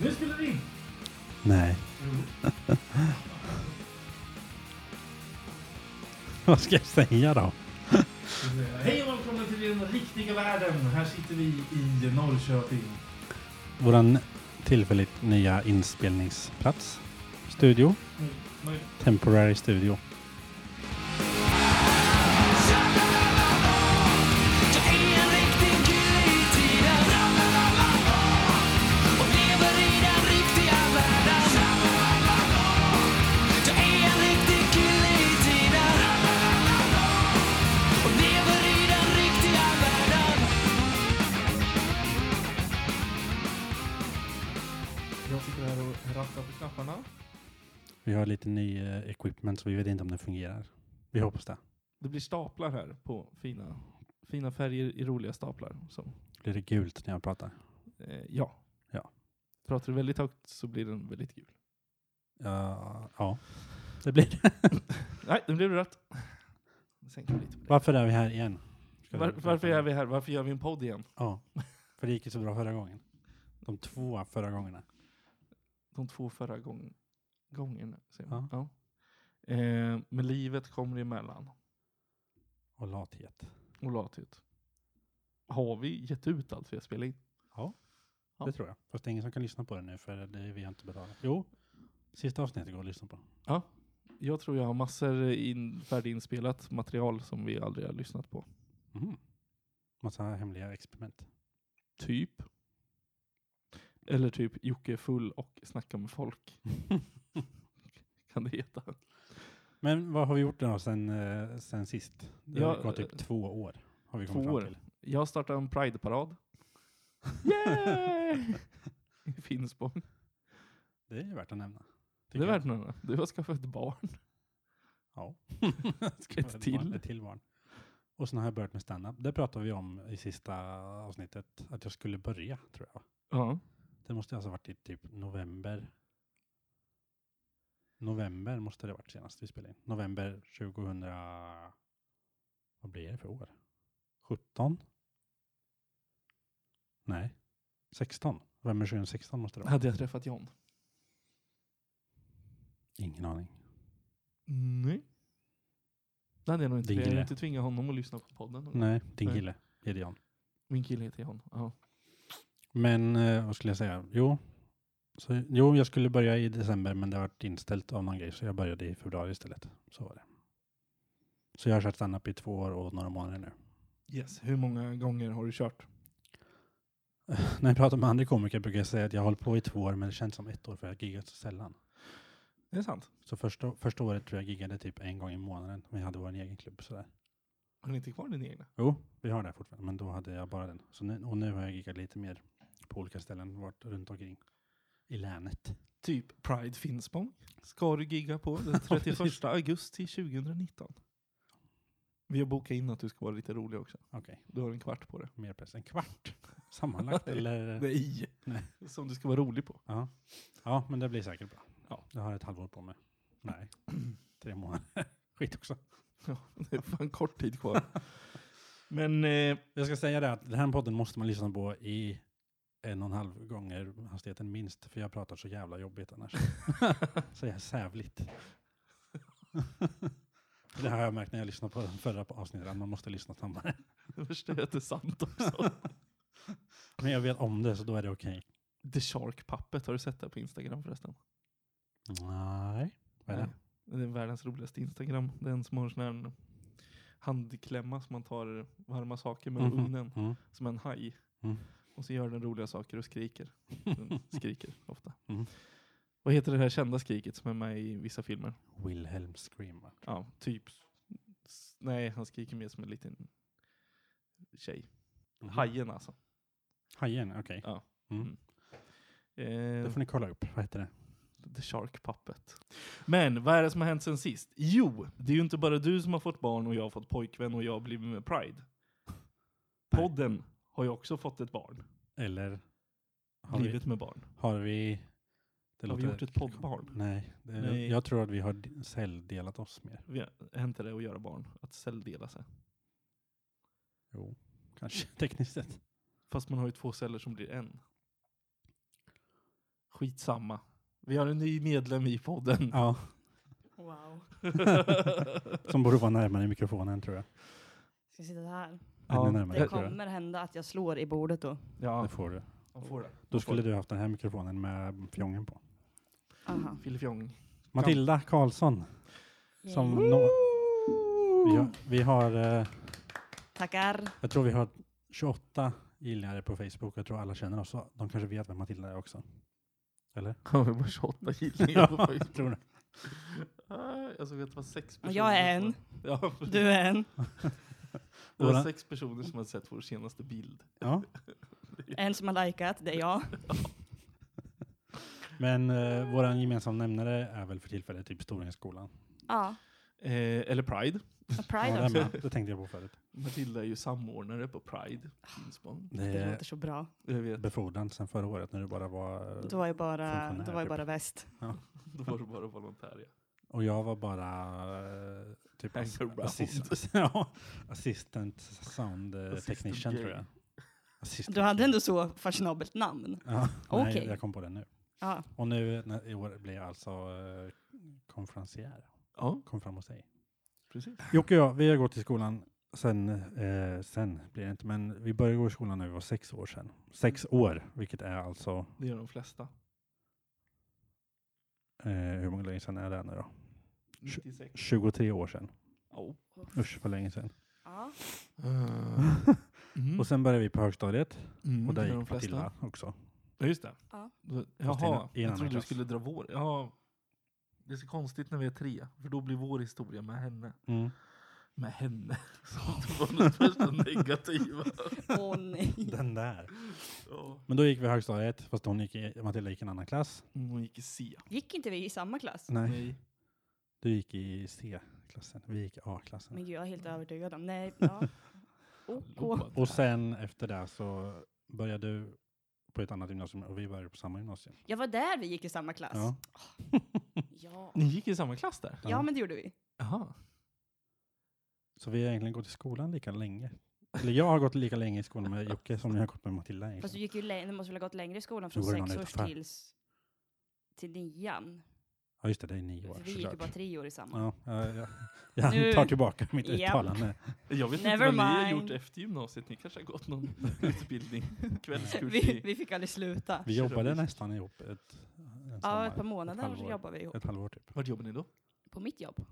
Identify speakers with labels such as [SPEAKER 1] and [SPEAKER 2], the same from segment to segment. [SPEAKER 1] Nu skulle det in!
[SPEAKER 2] Nej.
[SPEAKER 1] Mm.
[SPEAKER 2] Vad ska jag säga då?
[SPEAKER 1] Hej och välkomna till den riktiga världen. Här sitter vi i Norrköping.
[SPEAKER 2] Våran tillfälligt nya inspelningsplats. Studio.
[SPEAKER 1] Mm.
[SPEAKER 2] Temporary studio.
[SPEAKER 3] Jag är en riktig kille i tiden Ra-la-la-la-la. Och lever i den riktiga världen Ra-la-la-la-la. Jag är en riktig kille i tiden Ra-la-la-la-la. Och lever i den riktiga världen
[SPEAKER 1] Jag sitter här och rattar på knapparna.
[SPEAKER 2] Vi har lite ny eh, equipment så vi vet inte om det fungerar. Vi hoppas det.
[SPEAKER 1] Det blir staplar här på fina, fina färger i roliga staplar. Så,
[SPEAKER 2] Blir det gult när jag pratar?
[SPEAKER 1] eh, ja.
[SPEAKER 2] Ja.
[SPEAKER 1] Pratar du väldigt högt så blir den väldigt gul.
[SPEAKER 2] Ja, ja. det blir det.
[SPEAKER 1] Nej, den blev rätt. Sänker vi lite på det.
[SPEAKER 2] Varför är vi här igen? Ska vi-
[SPEAKER 1] Var, varför är vi här? Varför gör vi en podd igen?
[SPEAKER 2] Ja. För det gick ju så bra förra gången. De två förra gångerna.
[SPEAKER 1] De två förra gång, gångerna. Säger man. Ja.
[SPEAKER 2] Ja.
[SPEAKER 1] Eh, men livet kommer emellan.
[SPEAKER 2] Och lathet.
[SPEAKER 1] Och lathet. Har vi gett ut allt vi har spelat in? Ja.
[SPEAKER 2] Det tror jag. Fast det är ingen som kan lyssna på det nu för det, vi har inte betalat. Jo, sista avsnittet går att lyssna på.
[SPEAKER 1] Jag tror jag har massor in, färdiginspelat material som vi aldrig har lyssnat på.
[SPEAKER 2] Mm. Massa hemliga experiment.
[SPEAKER 1] Typ. Eller typ Jocke är full och snackar med folk. kan det heta.
[SPEAKER 2] Men vad har vi gjort då sen, eh, sen sist? Det
[SPEAKER 1] Ja,
[SPEAKER 2] har gått typ
[SPEAKER 1] eh,
[SPEAKER 2] två år. Har vi
[SPEAKER 1] två
[SPEAKER 2] kommit fram
[SPEAKER 1] år.
[SPEAKER 2] till.
[SPEAKER 1] Jag startar en Pride-parad. Yay! I Finspång.
[SPEAKER 2] Det är ju värt att nämna.
[SPEAKER 1] Det
[SPEAKER 2] tycker
[SPEAKER 1] är
[SPEAKER 2] jag.
[SPEAKER 1] värt något. Du har skaffat ett barn.
[SPEAKER 2] Ja. Ska
[SPEAKER 1] Ett
[SPEAKER 2] vara
[SPEAKER 1] till.
[SPEAKER 2] Barn, ett till barn. Och sen har jag börjat med stand-up. Det pratade vi om i sista avsnittet. Att jag skulle börja, tror jag.
[SPEAKER 1] Ja.
[SPEAKER 2] Det måste alltså ha varit i typ november. November måste det ha varit senast vi spelade in. November 2000. Vad blir det för år? 17? Nej, 16. November 2016 måste det vara.
[SPEAKER 1] Hade jag träffat John?
[SPEAKER 2] Ingen aning.
[SPEAKER 1] Nej. Det hade jag nog inte.
[SPEAKER 2] Din
[SPEAKER 1] Jag hade
[SPEAKER 2] kille.
[SPEAKER 1] inte tvingat honom att lyssna på podden. någon gång.
[SPEAKER 2] Nej, din
[SPEAKER 1] Nej.
[SPEAKER 2] kille, Gideon.
[SPEAKER 1] Min kille heter John. Ja.
[SPEAKER 2] Men eh, vad skulle jag säga? Jo. Så, jo, jag skulle börja i december men det har varit inställt av någon grej så jag började i februari istället. Så var det. Så jag har kört stand-up i två år och några månader nu.
[SPEAKER 1] Yes. Hur många gånger har du kört?
[SPEAKER 2] När jag pratar med andra komiker brukar jag säga att jag har hållit på i två år, men det känns som ett år för jag har giggat så sällan.
[SPEAKER 1] Det är sant.
[SPEAKER 2] Så första, första året tror jag giggade typ en gång i månaden, men jag hade vår egen klubb sådär.
[SPEAKER 1] Har ni inte kvar din egna?
[SPEAKER 2] Jo, vi har det fortfarande, men då hade jag bara den. Så nu, och nu har jag giggat lite mer på olika ställen, varit runt omkring i länet.
[SPEAKER 1] Typ Pride Finspång. Ska du gigga på den 31 augusti 2019. Vi har bokat in att du ska vara lite rolig också.
[SPEAKER 2] Okej,
[SPEAKER 1] Du har en kvart på det.
[SPEAKER 2] mer press. En kvart sammanlagt eller?
[SPEAKER 1] Nej.
[SPEAKER 2] Nej.
[SPEAKER 1] Som du ska vara rolig på.
[SPEAKER 2] Ja. ja, men det blir säkert bra.
[SPEAKER 1] Ja.
[SPEAKER 2] Jag har ett halvår på mig. Nej, tre månader. Skit också.
[SPEAKER 1] Det är fan kort tid kvar. Men eh,
[SPEAKER 2] Jag ska säga det att den här podden måste man lyssna på i en och en halv gånger hastigheten minst, för jag pratar så jävla jobbigt annars. så jag är sävligt. det har jag märkt när jag lyssnade på den förra på avsnittet, att man måste lyssna snabbare.
[SPEAKER 1] det värsta är att det är sant också.
[SPEAKER 2] Men jag vet om det, så då är det okej.
[SPEAKER 1] The Shark Puppet, har du sett det på Instagram förresten?
[SPEAKER 2] Nej. Vad är det?
[SPEAKER 1] Nej, Det är världens roligaste Instagram. Den som har en sån här handklämma som man tar varma saker med
[SPEAKER 2] Mhm.
[SPEAKER 1] ur ugnen.
[SPEAKER 2] Mm.
[SPEAKER 1] Som en haj.
[SPEAKER 2] Mm.
[SPEAKER 1] Och så gör den roliga saker och skriker. Den skriker ofta.
[SPEAKER 2] Mm.
[SPEAKER 1] Vad heter det här kända skriket som är med i vissa filmer?
[SPEAKER 2] Wilhelm Scream. va?
[SPEAKER 1] Ja, typ. S- Nej, han skriker mer som en liten tjej.
[SPEAKER 2] Mhm.
[SPEAKER 1] Hajen alltså.
[SPEAKER 2] Hajen, okej.
[SPEAKER 1] Ja.
[SPEAKER 2] Mm.
[SPEAKER 1] Mm.
[SPEAKER 2] Det
[SPEAKER 1] Eh,
[SPEAKER 2] får ni kolla upp. Vad heter det?
[SPEAKER 1] the Shark Puppet. Men vad är det som har hänt sen sist? Jo, det är ju inte bara du som har fått barn och jag har fått pojkvän och jag har blivit med Pride. Podden har ju också fått ett barn.
[SPEAKER 2] Eller? Har vi,
[SPEAKER 1] Blivit med barn.
[SPEAKER 2] har vi... det
[SPEAKER 1] Har vi
[SPEAKER 2] låter-
[SPEAKER 1] gjort ett poddbarn?
[SPEAKER 2] Nej, det,
[SPEAKER 1] Nej.
[SPEAKER 2] jag tror att vi har d- celldelat oss mer.
[SPEAKER 1] Vi har- Hänt det att göra barn? Att celldela sig?
[SPEAKER 2] Jo, kanske tekniskt sett.
[SPEAKER 1] Fast man har ju två celler som blir en. Skitsamma. Vi har en ny medlem i podden.
[SPEAKER 2] Ja,
[SPEAKER 4] Wow.
[SPEAKER 2] som borde vara närmare mikrofonen tror jag.
[SPEAKER 4] Ska sitta här.
[SPEAKER 1] Ja,
[SPEAKER 2] Ännu närmare
[SPEAKER 4] Det
[SPEAKER 2] tror jag.
[SPEAKER 4] kommer hända att jag slår i bordet då.
[SPEAKER 1] Ja,
[SPEAKER 2] Det får du.
[SPEAKER 1] han får det.
[SPEAKER 2] Då skulle du haft den här mikrofonen med fjongen på.
[SPEAKER 4] Aha.
[SPEAKER 1] Filifjong.
[SPEAKER 2] Matilda Karlsson. Som
[SPEAKER 4] Yay.
[SPEAKER 2] nå- vi har, vi har eh,
[SPEAKER 4] Tackar.
[SPEAKER 2] jag tror vi har 28 gillare på Facebook. Jag tror alla känner oss. så De kanske vet vem Matilda är också. Eller?
[SPEAKER 1] Han har bara 28 gillningar på
[SPEAKER 2] jag
[SPEAKER 1] Facebook.
[SPEAKER 2] tror det.
[SPEAKER 1] Nej, Jag såg att det var sex
[SPEAKER 4] Och
[SPEAKER 1] personer.
[SPEAKER 4] jag är
[SPEAKER 1] som
[SPEAKER 4] en.
[SPEAKER 1] har- Ja,
[SPEAKER 4] Du är en.
[SPEAKER 1] det var
[SPEAKER 2] Våra-
[SPEAKER 1] sex personer som hade sett vår senaste bild.
[SPEAKER 2] Ja.
[SPEAKER 4] En som har likat, det är jag.
[SPEAKER 2] Men eh, vår gemensamma nämnare är väl för tillfället typ Storängsskolan.
[SPEAKER 4] Ja.
[SPEAKER 1] Eh, eller Pride.
[SPEAKER 4] Och
[SPEAKER 2] Ja,
[SPEAKER 4] Pride
[SPEAKER 2] den
[SPEAKER 4] också.
[SPEAKER 2] med. det tänkte jag på förut.
[SPEAKER 1] Matilda är ju samordnare på Pride. Finspång.
[SPEAKER 2] Det
[SPEAKER 4] Det
[SPEAKER 2] är
[SPEAKER 4] låter så bra.
[SPEAKER 1] Jag vet,
[SPEAKER 2] befordran sedan förra året när du bara var...
[SPEAKER 4] Då var jag bara,
[SPEAKER 2] Funktionär,
[SPEAKER 4] då var jag
[SPEAKER 2] typ.
[SPEAKER 4] bara väst.
[SPEAKER 1] då var det bara volontär. Ja.
[SPEAKER 2] Och jag var bara eh, typ
[SPEAKER 1] Hang
[SPEAKER 2] ass-
[SPEAKER 1] around.
[SPEAKER 2] assist, ja, assistant sound eh,
[SPEAKER 1] Assistant
[SPEAKER 2] technician tror
[SPEAKER 1] gay.
[SPEAKER 2] jag. Assistant
[SPEAKER 4] Du hade
[SPEAKER 2] gay.
[SPEAKER 4] ändå så fashionabelt namn.
[SPEAKER 2] Ja, nej,
[SPEAKER 4] Okej.
[SPEAKER 2] jag kom på det nu.
[SPEAKER 4] Ja.
[SPEAKER 2] Och nu när, i år blir jag alltså eh, konferencier.
[SPEAKER 1] ja,
[SPEAKER 2] Kom fram och säg.
[SPEAKER 1] precis.
[SPEAKER 2] Jocke och jag, vi har gått i skolan sen, eh, sen blir det inte, men vi började gå i skolan när vi var sex år sedan. Sex
[SPEAKER 4] Mm.
[SPEAKER 2] år, vilket är alltså,
[SPEAKER 1] Det gör de flesta.
[SPEAKER 2] eh, hur många länge sedan är det nu då?
[SPEAKER 1] 96.
[SPEAKER 2] 23 år sedan.
[SPEAKER 1] Oh.
[SPEAKER 2] Usch, för länge sedan.
[SPEAKER 4] Ja.
[SPEAKER 1] Mm.
[SPEAKER 2] Och sen började vi på högstadiet
[SPEAKER 1] Mm,
[SPEAKER 2] och
[SPEAKER 1] det
[SPEAKER 2] där
[SPEAKER 1] gör de
[SPEAKER 2] gick
[SPEAKER 1] flesta.
[SPEAKER 2] Matilda också.
[SPEAKER 1] Ja, just det.
[SPEAKER 4] Ja.
[SPEAKER 1] Då-
[SPEAKER 2] Fast i en- i en
[SPEAKER 1] Jaha, jag
[SPEAKER 2] annan
[SPEAKER 1] trodde du
[SPEAKER 2] klass.
[SPEAKER 1] skulle dra vår. Ja, det är så konstigt när vi är tre, för då blir vår historia med henne.
[SPEAKER 2] Mm.
[SPEAKER 1] Med henne. Som det var det första negativa.
[SPEAKER 4] Åh nej.
[SPEAKER 2] Den där.
[SPEAKER 1] Ja.
[SPEAKER 2] Men då gick vi i högstadiet, fast hon gick i, Matilda gick i en annan klass.
[SPEAKER 1] Mm, Hon gick i C.
[SPEAKER 4] Gick inte vi i samma klass?
[SPEAKER 2] Nej,
[SPEAKER 1] Nej.
[SPEAKER 2] du gick i C-klassen. Vi gick i A-klassen.
[SPEAKER 4] Men gud, jag är helt övertygad om. Nej, ja. OK.
[SPEAKER 1] Lovat.
[SPEAKER 2] Och sen efter det så började du på ett annat gymnasium och vi började på samma gymnasium.
[SPEAKER 4] Jag var där vi gick i samma klass.
[SPEAKER 2] Ja.
[SPEAKER 4] Ja,
[SPEAKER 1] Ni gick i samma klass där?
[SPEAKER 4] Alltså, ja men det gjorde vi.
[SPEAKER 1] Jaha.
[SPEAKER 2] Så vi har egentligen gått i skolan lika länge. Eller jag har gått lika länge i skolan med Jocke som jag har gått med Matilda.
[SPEAKER 4] Fast du
[SPEAKER 2] egentligen.
[SPEAKER 4] gick ju lä- du måste väl ha gått längre i skolan
[SPEAKER 2] Så
[SPEAKER 4] från
[SPEAKER 2] var det Liksom. någon
[SPEAKER 4] sex års
[SPEAKER 2] utanför.
[SPEAKER 4] tills till nian.
[SPEAKER 2] Ja just det, det är nio år.
[SPEAKER 4] För vi gick ju
[SPEAKER 2] såklart.
[SPEAKER 4] bara tre år i samma.
[SPEAKER 2] Ja, jag, jag, jag
[SPEAKER 4] Nu-
[SPEAKER 2] tar tillbaka mitt
[SPEAKER 4] Japp.
[SPEAKER 2] uttalande.
[SPEAKER 1] Jag vet
[SPEAKER 4] Never
[SPEAKER 1] inte vad ni har
[SPEAKER 4] mind.
[SPEAKER 1] gjort efter gymnasiet. Ni kanske har gått någon utbildning. Kvällskurs
[SPEAKER 4] Vi,
[SPEAKER 1] i...
[SPEAKER 4] vi fick aldrig sluta.
[SPEAKER 2] Vi jobbade nästan ihop ett, en
[SPEAKER 4] Ja, ett
[SPEAKER 2] sommar.
[SPEAKER 4] par månader
[SPEAKER 2] halvår.
[SPEAKER 4] jobbade vi ihop.
[SPEAKER 2] Ett halvår typ.
[SPEAKER 1] Vart jobbar ni då?
[SPEAKER 4] På mitt jobb.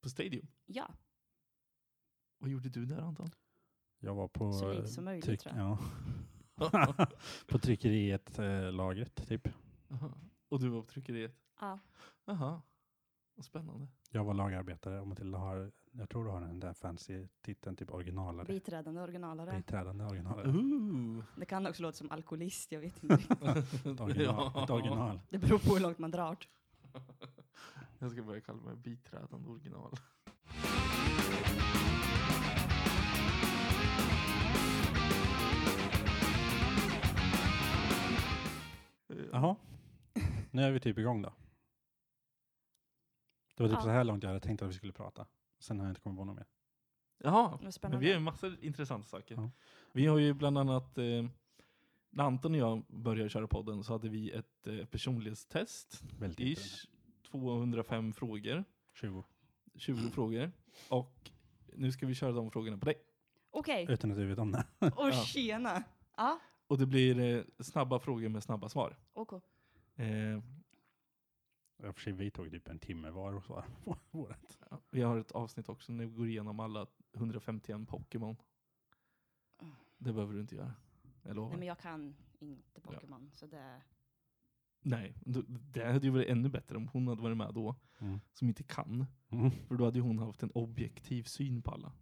[SPEAKER 1] På Stadium?
[SPEAKER 4] Ja,
[SPEAKER 1] Vad gjorde du där Anton?
[SPEAKER 2] Jag var på,
[SPEAKER 4] så lite
[SPEAKER 2] eh,
[SPEAKER 4] som möjligt
[SPEAKER 2] tryck,
[SPEAKER 4] tror jag.
[SPEAKER 2] ja, på tryckeriet, eh, lagret typ.
[SPEAKER 1] Jaha. Och du var på tryckeriet?
[SPEAKER 4] Ja.
[SPEAKER 1] Jaha. Vad spännande.
[SPEAKER 2] Jag var lagarbetare och Matilda har, jag tror du har den där fancy titeln, typ originalare.
[SPEAKER 4] Biträdande originalare.
[SPEAKER 2] Biträdande originalare.
[SPEAKER 1] Ooh.
[SPEAKER 4] Det kan också låta som alkoholist, jag vet inte.
[SPEAKER 2] Ett original. Ett original.
[SPEAKER 4] Det beror på hur långt man drar.
[SPEAKER 1] Jag ska börja kalla mig biträdande original.
[SPEAKER 2] Jaha. Nu är vi typ igång då. Det var typ
[SPEAKER 4] Ja.
[SPEAKER 2] så här långt jag hade tänkt att vi skulle prata. Sen har jag inte kommit på något mer.
[SPEAKER 1] Jaha,
[SPEAKER 4] Vad
[SPEAKER 1] men
[SPEAKER 4] spännande.
[SPEAKER 1] vi har ju massor intressanta saker.
[SPEAKER 2] Ja.
[SPEAKER 1] Vi har ju bland annat, eh, när Anton och jag började köra podden så hade vi ett eh, personlighetstest,
[SPEAKER 2] Väldigt intressant.
[SPEAKER 1] ish, 205 frågor,
[SPEAKER 2] 20.
[SPEAKER 1] 20 frågor. Och nu ska vi köra de frågorna på dig.
[SPEAKER 4] Okej,
[SPEAKER 2] Utan att du vet om det.
[SPEAKER 4] och
[SPEAKER 1] Ja.
[SPEAKER 4] tjena. Ja,
[SPEAKER 1] Och det blir eh, snabba frågor med snabba svar.
[SPEAKER 4] okej.
[SPEAKER 1] Eh,
[SPEAKER 2] Jag för sig, vi tog typ en timme var och svara på vårat.
[SPEAKER 1] ja, vi har ett avsnitt också när vi går igenom alla 151 Pokémon. Det behöver du inte göra. Jag lovar.
[SPEAKER 4] Ah. Nej men jag kan inte Pokémon, så det...
[SPEAKER 1] Nej, då- det hade ju varit ännu bättre om hon hade varit med då,
[SPEAKER 2] Mm.
[SPEAKER 1] som inte kan.
[SPEAKER 2] Mm.
[SPEAKER 1] För då hade ju hon haft en objektiv syn på alla.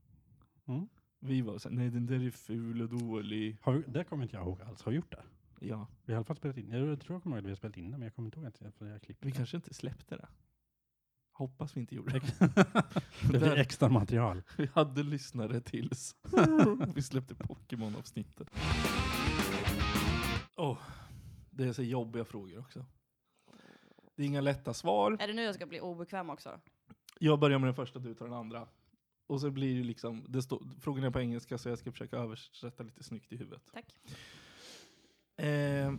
[SPEAKER 2] Mm.
[SPEAKER 1] Vi var såhär, nej den där är ful och dålig.
[SPEAKER 2] Har vi, det kommer inte jag ihåg alls. Har vi gjort det?
[SPEAKER 1] Ja,
[SPEAKER 2] Vi har i alla fall spelat in. Jag tror jag kommer ihåg att vi har spelat in det, men jag kommer inte ihåg att jag, för jag klippte
[SPEAKER 1] vi
[SPEAKER 2] det.
[SPEAKER 1] kanske inte släppte det. Hoppas vi inte gjorde det.
[SPEAKER 2] det blir
[SPEAKER 1] Där.
[SPEAKER 2] extra material.
[SPEAKER 1] Vi hade lyssnare tills vi släppte Pokémon-avsnittet. Åh, det är så jobbiga frågor också. Det är inga lätta svar.
[SPEAKER 4] Är det nu jag ska bli obekväm också?
[SPEAKER 1] Jag börjar med den första, du tar den andra. Och så blir det liksom, det står, frågan är på engelska så jag ska försöka Eh. översätta lite snyggt i huvudet.
[SPEAKER 4] Tack.
[SPEAKER 1] Eh,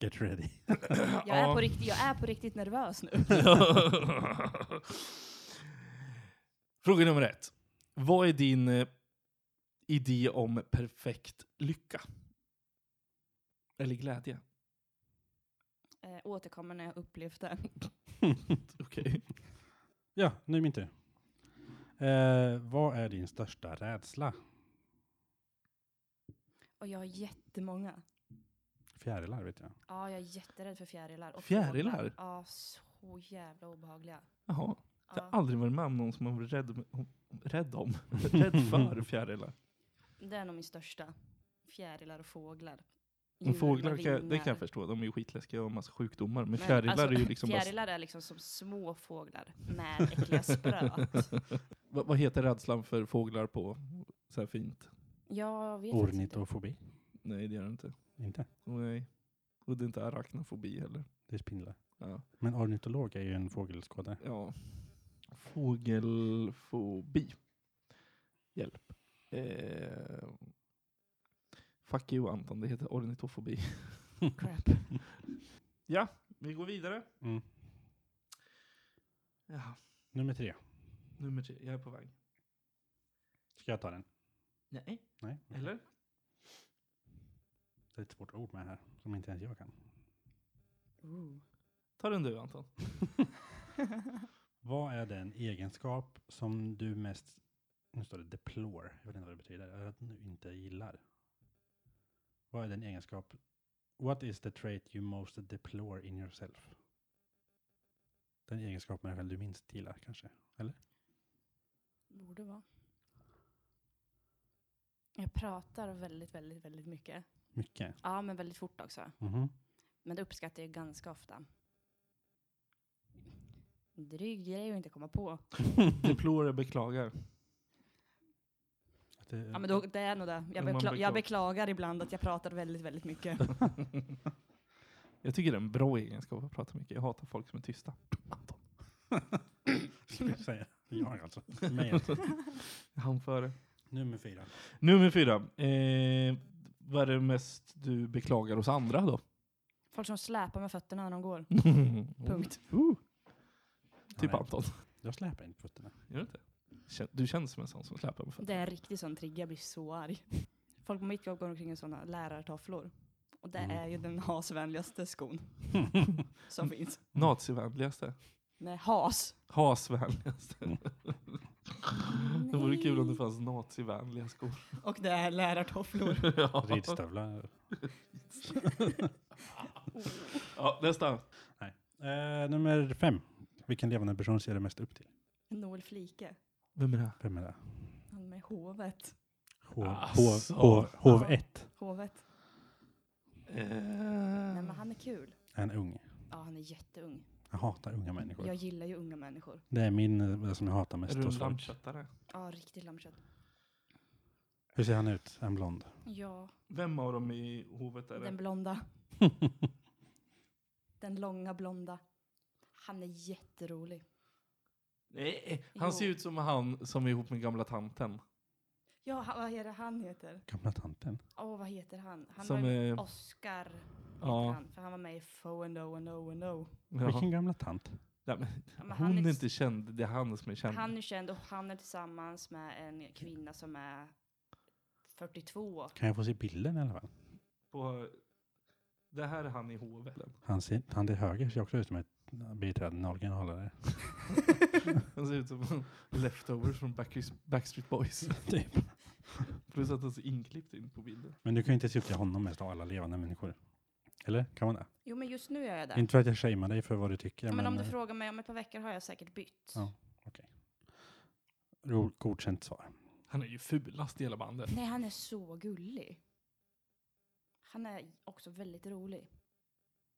[SPEAKER 2] Get ready.
[SPEAKER 4] Jag,
[SPEAKER 1] Ja.
[SPEAKER 4] är på riktigt, jag är på riktigt nervös nu.
[SPEAKER 1] Fråga nummer ett. Vad är din eh, idé om perfekt lycka? Eller glädje?
[SPEAKER 4] Eh, återkommer när jag upplevt det.
[SPEAKER 1] Okej.
[SPEAKER 2] Ja, nu är min tur. Eh, vad är din största rädsla?
[SPEAKER 4] Och jag har jättemånga.
[SPEAKER 2] Fjärilar vet jag.
[SPEAKER 4] Ja, jag är jätterädd för fjärilar. Och
[SPEAKER 1] Fjärilar?
[SPEAKER 4] fåglar. Ja, så jävla obehagliga.
[SPEAKER 1] Jaha. Jag
[SPEAKER 4] Ja.
[SPEAKER 1] har aldrig varit med om någon som har varit rädd, om- rädd om, rädd för fjärilar.
[SPEAKER 4] Det är nog min största. Fjärilar och fåglar. Djur
[SPEAKER 1] Men
[SPEAKER 4] med
[SPEAKER 1] fåglar, kan, jag- det
[SPEAKER 4] vingar.
[SPEAKER 1] kan jag förstå. De är ju skitläskiga och har massa sjukdomar. Men
[SPEAKER 4] Men
[SPEAKER 1] fjärilar
[SPEAKER 4] alltså,
[SPEAKER 1] är ju liksom bara...
[SPEAKER 4] Fjärilar är liksom som små fåglar med äckliga spöt.
[SPEAKER 1] Vad, vad heter rädslan för fåglar på så här fint?
[SPEAKER 4] Jag vet faktiskt inte.
[SPEAKER 2] Ornitofobi?
[SPEAKER 1] Nej, det gör det inte.
[SPEAKER 2] Inte?
[SPEAKER 1] Och nej. Och det är inte arachnofobi heller.
[SPEAKER 2] Det är spindlar.
[SPEAKER 1] Ja.
[SPEAKER 2] Men ornitolog är ju en fågelskådare.
[SPEAKER 1] ja. Fågelfobi. Hjälp. Eh, fuck you Anton, det heter ornitofobi.
[SPEAKER 4] Crap.
[SPEAKER 1] Ja, vi går vidare.
[SPEAKER 2] Mm.
[SPEAKER 1] Ja,
[SPEAKER 2] Nummer tre.
[SPEAKER 1] nummer tre. Jag är på väg.
[SPEAKER 2] Ska jag ta den?
[SPEAKER 1] Nej,
[SPEAKER 2] Nej.
[SPEAKER 1] eller?
[SPEAKER 2] Det är ett svårt ord med här som inte ens jag kan.
[SPEAKER 4] Ooh.
[SPEAKER 1] Ta den du Anton.
[SPEAKER 2] Vad är den egenskap som du mest, nu står det deplore, jag vet inte vad det betyder, Är det att du inte gillar? Vad är den egenskap, what is the trait you most deplore in yourself? Den egenskapen är själv du minst gillar kanske?
[SPEAKER 4] Borde vara. Jag pratar väldigt, väldigt, väldigt mycket.
[SPEAKER 2] Mycket.
[SPEAKER 4] Ja, men väldigt fort också.
[SPEAKER 2] Mhm.
[SPEAKER 4] Men det uppskattar jag ganska ofta. Dryg grej att inte komma på.
[SPEAKER 1] Deplorer beklagar.
[SPEAKER 2] Att det,
[SPEAKER 4] Ja, men då, det är nog det. Jag,
[SPEAKER 1] Man
[SPEAKER 4] bekla-
[SPEAKER 1] beklagar.
[SPEAKER 4] jag beklagar ibland att jag pratar väldigt, väldigt mycket.
[SPEAKER 1] Jag tycker det är en bra egenskap att prata mycket. Jag hatar folk som är tysta. Anton.
[SPEAKER 2] skulle jag säga. Jag alltså. Mig alltså.
[SPEAKER 1] Han före.
[SPEAKER 2] Nummer fyra.
[SPEAKER 1] Nummer fyra. Eh, vad är det mest du beklagar hos andra då?
[SPEAKER 4] Folk som släpar med fötterna när de går.
[SPEAKER 1] Punkt.
[SPEAKER 2] Mm.
[SPEAKER 4] Punkt.
[SPEAKER 1] Typ
[SPEAKER 2] Ja, nej.
[SPEAKER 1] Anton.
[SPEAKER 2] Jag släpar inte på fötterna.
[SPEAKER 1] Gör du inte? Kän- Du känns som en sån som släpar med
[SPEAKER 4] Det
[SPEAKER 1] fötterna.
[SPEAKER 4] är riktigt sån trigger, jag blir så arg. Folk på mitt jobb går omkring i sådana lärartofflor. Och det
[SPEAKER 2] Mm.
[SPEAKER 4] är ju den hasvänligaste skon som finns.
[SPEAKER 1] Nazivänligaste.
[SPEAKER 4] Nej, has.
[SPEAKER 1] Hasvänligaste. Det vore kul om det fanns nazivänliga skor.
[SPEAKER 4] Och det är lärartofflor.
[SPEAKER 1] ja.
[SPEAKER 2] Ridstövlar.
[SPEAKER 1] ja, nästa.
[SPEAKER 2] Eh, nummer fem. Vilken levande person ser du mest upp till?
[SPEAKER 4] Noel Flike.
[SPEAKER 1] Vem är det?
[SPEAKER 2] Vem är det?
[SPEAKER 4] Han med hovet.
[SPEAKER 2] Hov,
[SPEAKER 1] Alltså.
[SPEAKER 2] hov, hov, hov 1.
[SPEAKER 4] Hovet.
[SPEAKER 2] Mm.
[SPEAKER 4] Nej, men
[SPEAKER 1] Eh,
[SPEAKER 4] han är kul.
[SPEAKER 2] En ung.
[SPEAKER 4] Ja, han är jätteung.
[SPEAKER 2] Jag hatar unga människor.
[SPEAKER 4] Jag gillar ju unga människor.
[SPEAKER 2] Det är min, eh, det som jag hatar mest
[SPEAKER 1] är du en
[SPEAKER 2] hos folk.
[SPEAKER 1] lammköttare?
[SPEAKER 4] Ja, riktigt lammkött.
[SPEAKER 2] Hur ser han ut? En blond.
[SPEAKER 4] Ja,
[SPEAKER 1] Vem av dem i hovet är det?
[SPEAKER 4] den blonda. den långa blonda. Han är jätterolig.
[SPEAKER 1] Nej, han ser
[SPEAKER 4] Jo.
[SPEAKER 1] ut som han som är ihop med gamla tanten.
[SPEAKER 4] Ja, han, vad är det han heter?
[SPEAKER 2] Gamla tanten.
[SPEAKER 4] Åh, vad heter han? Han
[SPEAKER 1] Som
[SPEAKER 4] var ju
[SPEAKER 1] är-
[SPEAKER 4] Oscar, heter
[SPEAKER 1] Ja.
[SPEAKER 4] han. För han var med i Fo and O and O and O.
[SPEAKER 1] Ja.
[SPEAKER 2] Vilken gamla tant?
[SPEAKER 1] Nej, men
[SPEAKER 4] Ja, men
[SPEAKER 1] Hon är
[SPEAKER 4] ju-
[SPEAKER 1] inte känd, det är han som är känd.
[SPEAKER 4] han är känd och han är tillsammans med en kvinna som är 42.
[SPEAKER 2] Kan jag få se bilden i alla fall?
[SPEAKER 1] På, det här är han i hovet.
[SPEAKER 2] Han, ser, han till höger ser också ut som ett biträdande originalare.
[SPEAKER 1] Han ser ut som leftovers från Backstreet, Backstreet Boys.
[SPEAKER 2] typ.
[SPEAKER 1] Plus att han ser inklippt in på bilden.
[SPEAKER 2] Men du kan ju inte se upp till honom mest av alla levande människor. Eller? Kan man det?
[SPEAKER 4] Jo, men just nu gör jag det.
[SPEAKER 2] Inte för att jag shamear dig för vad du tycker.
[SPEAKER 4] men, om du
[SPEAKER 2] eh,
[SPEAKER 4] frågar mig om ett par veckor har jag säkert bytt.
[SPEAKER 2] Ja. ro- Godkänt svar.
[SPEAKER 1] Han är ju fulast i hela bandet.
[SPEAKER 4] Nej, han är så gullig. Han är också väldigt rolig.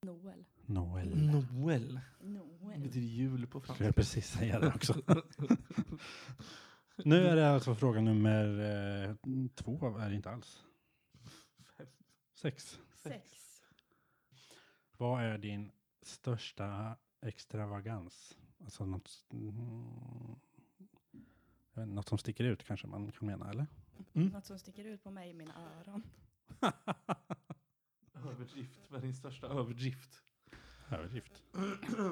[SPEAKER 4] Noel.
[SPEAKER 1] Mm.
[SPEAKER 2] Noel.
[SPEAKER 1] Noel. Det
[SPEAKER 4] Noel.
[SPEAKER 1] betyder jul på
[SPEAKER 2] Skulle jag
[SPEAKER 1] franska.
[SPEAKER 2] precis säga det också. nu är det alltså fråga nummer eh, två, är det inte alls. Sex.
[SPEAKER 4] Sex.
[SPEAKER 2] Vad är din största extravagans? Alltså något, mm, jag vet inte, något som sticker ut kanske man
[SPEAKER 1] Mm.
[SPEAKER 2] kan mena, eller?
[SPEAKER 4] Något som sticker ut på mig i mina öron.
[SPEAKER 1] Överdrift. Vad är din största överdrift?
[SPEAKER 2] Överdrift.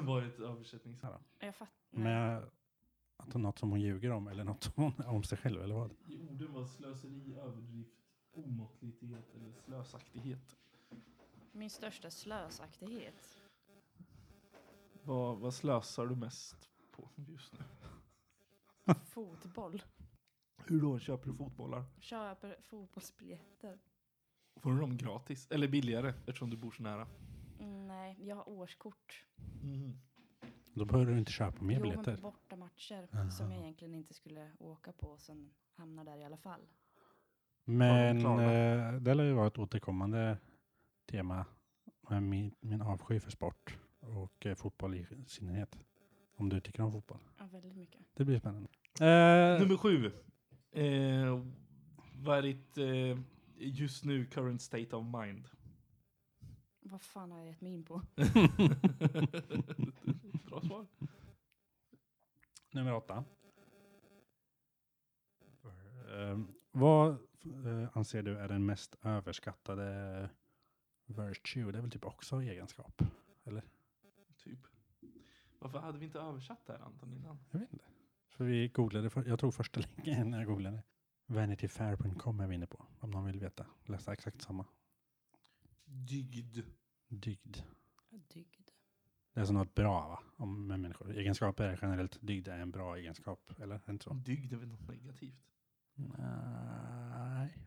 [SPEAKER 1] Var ett översättningsord.
[SPEAKER 4] Jag fattar.
[SPEAKER 2] Men jag, Mm. att något som hon ljuger om eller något som hon, om sig själv eller vad?
[SPEAKER 1] I orden var slöseri, överdrift, omåttlighet eller slösaktighet.
[SPEAKER 4] Min största slösaktighet.
[SPEAKER 1] Vad, vad slösar du mest på just nu?
[SPEAKER 4] Fotboll.
[SPEAKER 1] Hur då? Köper du fotbollar?
[SPEAKER 4] Köper fotbollsbiljetter.
[SPEAKER 1] Får du dem gratis? Eller billigare eftersom du bor så nära.
[SPEAKER 4] Mm, Nej, jag har årskort.
[SPEAKER 1] Mm.
[SPEAKER 2] Då behöver du inte köpa mer
[SPEAKER 4] jo,
[SPEAKER 2] biljetter.
[SPEAKER 4] men på bortamatcher
[SPEAKER 2] Aha.
[SPEAKER 4] som jag egentligen inte skulle åka på sen hamnar där i alla fall.
[SPEAKER 2] Men
[SPEAKER 1] Har de klarat?
[SPEAKER 2] eh, det lär ju vara ett återkommande tema med min, min avsky för sport och eh, fotboll i synnerhet. Om du tycker om fotboll.
[SPEAKER 4] Ja, väldigt mycket.
[SPEAKER 2] Det blir spännande.
[SPEAKER 1] Nummer sju. Eh, vad är ditt eh, just nu current state of mind?
[SPEAKER 4] Vad fan har jag gett mig in på?
[SPEAKER 1] Bra svar.
[SPEAKER 2] Nummer åtta. Eh, vad eh, anser du är den mest överskattade virtue? Det är väl typ också egenskap?
[SPEAKER 1] Typ. Varför hade vi inte översatt det här Anton innan?
[SPEAKER 2] Jag vet inte. För vi googlade, för, jag tror första länken när jag googlade. Vanityfair.com är vi inne på, om någon vill veta. Läsa exakt samma.
[SPEAKER 1] Dygd.
[SPEAKER 2] Dygd.
[SPEAKER 4] Dygd.
[SPEAKER 2] Det är alltså något bra va? Om, med människor. Egenskaper är generellt, dygd är en bra egenskap. Eller? Är det Inte så?
[SPEAKER 1] Dygd är väl något negativt?
[SPEAKER 2] Nej.